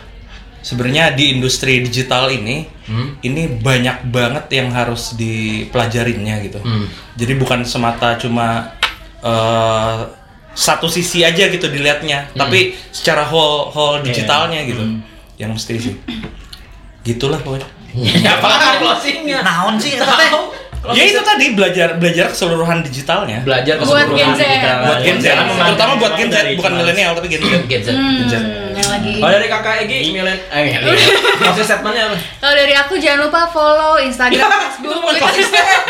Speaker 5: sebenarnya di industri digital ini ini banyak banget yang harus dipelajarinnya gitu jadi bukan semata cuma eh, satu sisi aja gitu dilihatnya tapi secara whole whole digitalnya gitu yang mesti sih gitulah pokoknya
Speaker 1: Ya, apa closingnya?
Speaker 3: Naon sih eta teh?
Speaker 1: Tahu.
Speaker 5: ya itu tadi belajar belajar keseluruhan digitalnya.
Speaker 1: Belajar
Speaker 6: Buat Gen
Speaker 1: keseluruhan
Speaker 6: Z.
Speaker 1: kita.
Speaker 5: buat Gen Z,
Speaker 2: Belajar
Speaker 5: terutama buat Gen Z,
Speaker 2: dari
Speaker 5: bukan
Speaker 2: cuman-
Speaker 5: milenial tapi Gen Z.
Speaker 1: Gen Z.
Speaker 6: Hmm,
Speaker 5: Gen Z.
Speaker 6: yang lagi
Speaker 1: Oh dari kakak Egi, Milen, eh Milen. Maksudnya statementnya apa?
Speaker 6: Kalau dari aku jangan lupa follow Instagram, Facebook, Twitter.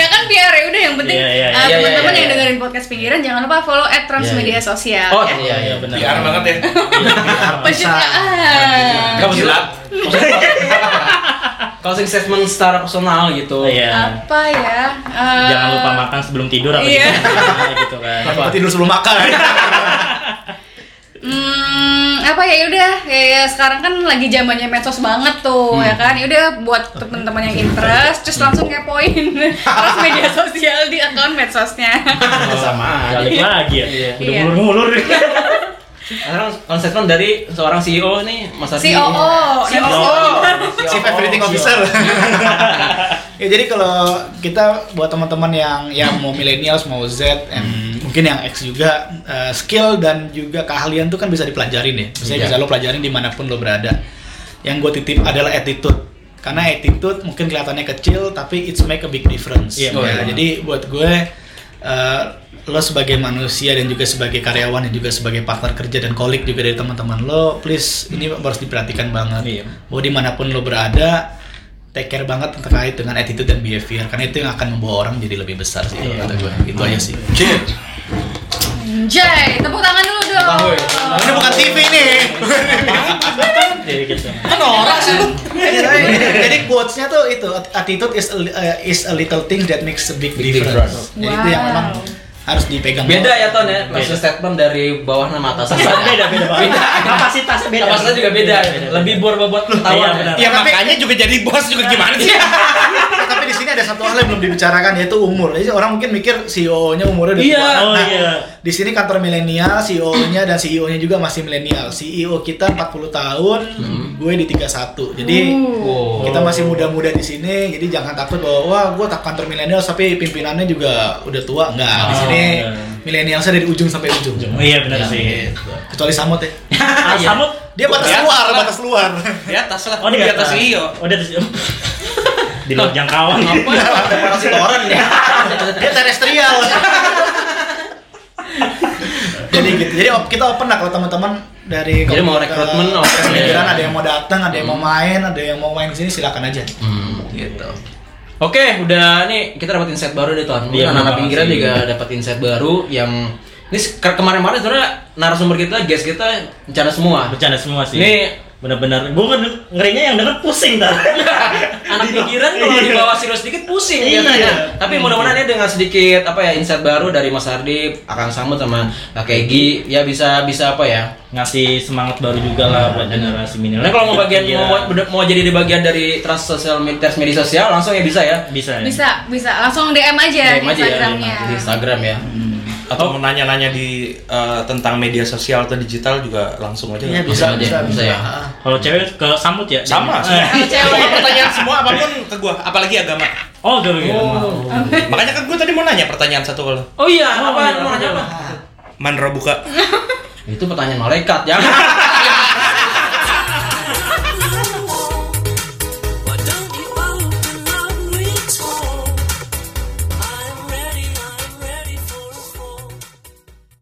Speaker 6: Ya kan biar ya udah yang penting
Speaker 2: Iya, iya,
Speaker 6: eh,
Speaker 2: iya,
Speaker 1: iya,
Speaker 6: teman-teman
Speaker 1: iya,
Speaker 6: yang
Speaker 1: iya.
Speaker 6: dengerin podcast pinggiran jangan lupa follow @transmedia sosial.
Speaker 1: Oh
Speaker 6: ya.
Speaker 1: iya iya benar.
Speaker 4: PR banget ya.
Speaker 6: ah. Pencitraan.
Speaker 1: Kamu maksudnya closing statement secara personal gitu.
Speaker 2: Iya.
Speaker 6: Apa ya? Eh,
Speaker 2: Jangan lupa makan sebelum tidur apa
Speaker 6: Iya.
Speaker 2: gitu. gitu kan.
Speaker 3: Apa? Tidur sebelum makan.
Speaker 6: Hmm, apa ya udah ya, ya, sekarang kan lagi zamannya medsos banget tuh ya kan ya udah buat temen-temen yang interest terus langsung kepoin terus media sosial di akun medsosnya
Speaker 1: Sama aja.
Speaker 2: Balik lagi ya.
Speaker 1: Iya.
Speaker 2: Udah
Speaker 6: Iya.
Speaker 2: mulur-mulur.
Speaker 1: Sekarang closing statement dari seorang CEO nih, Mas Adi.
Speaker 6: COO COO
Speaker 2: Iya,
Speaker 3: Chief Everything
Speaker 2: oh,
Speaker 3: Officer. ya jadi kalau kita buat teman-teman yang yang mau millennials, mau Z, and
Speaker 2: Hmm.
Speaker 3: mungkin yang X juga eh, skill dan juga keahlian tuh kan bisa dipelajarin ya. Bisa
Speaker 2: Iya.
Speaker 3: bisa lo pelajarin dimanapun lo berada. Yang gue titip adalah attitude. Karena attitude mungkin kelihatannya kecil tapi it's make a big difference.
Speaker 2: Iya, benar.
Speaker 3: Ya, Jadi buat gue eh, lo sebagai manusia dan juga sebagai karyawan dan juga sebagai partner kerja dan kolik juga dari teman-teman lo, please ini harus diperhatikan banget
Speaker 2: Iya.
Speaker 3: bahwa dimanapun lo berada take care banget terkait dengan attitude dan behavior karena itu yang akan membawa orang jadi lebih besar sih kalau kata gue itu aja sih
Speaker 5: Iya.
Speaker 6: Jay, tepuk tangan dulu dong
Speaker 1: Tahu ya.
Speaker 3: ini bukan TV nih
Speaker 2: Jadi gitu.
Speaker 3: kan orang sih lu jadi quotesnya tuh itu attitude is a, uh, is a little thing that makes a big, difference. jadi itu yang
Speaker 6: Wow.
Speaker 3: memang harus dipegang
Speaker 1: Beda ya Ton ya, maksudnya
Speaker 2: Beda.
Speaker 1: statement dari bawah nama atas.
Speaker 2: Beda beda banget.
Speaker 1: Beda.
Speaker 2: Kapasitasnya beda.
Speaker 1: Kapasitasnya juga beda. Lebih bor bobot
Speaker 2: Iya,
Speaker 1: lawan.
Speaker 2: benar.
Speaker 3: Ya,
Speaker 5: Ya,
Speaker 3: tapi-
Speaker 5: makanya juga jadi bos juga gimana sih?
Speaker 3: Nah, tapi di sini ada satu hal yang belum dibicarakan yaitu umur jadi orang mungkin mikir CEO-nya umurnya udah
Speaker 1: Iya.
Speaker 3: tua Nah,
Speaker 2: Oh, iya.
Speaker 3: di sini kantor milenial CEO-nya dan CEO-nya juga masih milenial CEO kita 40 tahun gue di 31 jadi
Speaker 2: Oh.
Speaker 1: Wow.
Speaker 3: kita masih muda-muda di sini jadi jangan takut bahwa wah gue tak kantor milenial tapi pimpinannya juga udah tua enggak di
Speaker 2: Oh,
Speaker 3: sini
Speaker 2: iya.
Speaker 3: milenial saya dari ujung sampai ujung
Speaker 2: Oh iya benar sih.
Speaker 3: Gitu. kecuali Samot ya
Speaker 2: Ah, Samut.
Speaker 3: dia batas
Speaker 5: Iya.
Speaker 3: luar batas luar
Speaker 5: Di atas lah.
Speaker 2: Oh di atas
Speaker 5: Rio.
Speaker 2: Oh di atas. Di luar jangkauan.
Speaker 1: Apa ya? Batas orang ya.
Speaker 3: dia terestrial jadi gitu jadi op- kita open lah kalau teman-teman dari
Speaker 1: Jadi mau
Speaker 3: komunitas
Speaker 1: rekrutmen open ya. Hmm.
Speaker 3: pemikiran, ada yang mau datang ada yang mau main ada yang mau main sini silakan aja
Speaker 2: Hmm.
Speaker 3: gitu
Speaker 1: Oke, udah nih kita dapat insight baru deh Tuan. Mungkin
Speaker 2: Iya,
Speaker 1: anak-anak
Speaker 2: benar
Speaker 1: pinggiran
Speaker 2: sih.
Speaker 1: juga dapat insight baru yang ini se- ke- kemarin-kemarin sebenarnya narasumber kita, guest kita bicara semua.
Speaker 2: Bercanda semua sih.
Speaker 1: Ini-
Speaker 2: benar-benar gue ngerinya yang denger pusing tar.
Speaker 1: Anak pinggiran kalau dibawa serius sedikit pusing
Speaker 2: Iya.
Speaker 1: biasanya. Tapi mudah-mudahan dia dengan sedikit apa ya insight baru dari Mas Hardi, Akang Samud sama Kak Egi ya bisa bisa apa ya?
Speaker 2: ngasih semangat baru juga lah buat generasi milenial.
Speaker 1: Nah, kalau mau bagian
Speaker 2: Iya.
Speaker 1: mau, mau jadi di bagian dari trans sosial media, trans media sosial langsung ya bisa ya.
Speaker 2: bisa.
Speaker 6: Bisa, bisa, langsung DM aja
Speaker 1: DM aja ya,
Speaker 6: di Iya, Instagramnya
Speaker 1: di Instagram ya.
Speaker 2: Hmm.
Speaker 5: Atau mau nanya-nanya di eh, tentang media sosial atau digital juga langsung aja.
Speaker 3: Iya
Speaker 5: lah.
Speaker 1: bisa
Speaker 3: bisa
Speaker 1: aja,
Speaker 3: bisa,
Speaker 1: bisa
Speaker 3: bisa,
Speaker 1: ya.
Speaker 3: Ah.
Speaker 2: Kalau cewek ke samut ya? Eh.
Speaker 5: Sama.
Speaker 6: Kalau
Speaker 5: Semua
Speaker 6: cewek
Speaker 5: pertanyaan semua apapun ke gua, apalagi agama.
Speaker 2: Oh, gitu gitu.
Speaker 5: Makanya kan gua tadi mau nanya pertanyaan satu kalau
Speaker 1: Oh iya, apa? Mau nanya apa?
Speaker 5: Manro buka.
Speaker 1: Itu pertanyaan malaikat, jangan.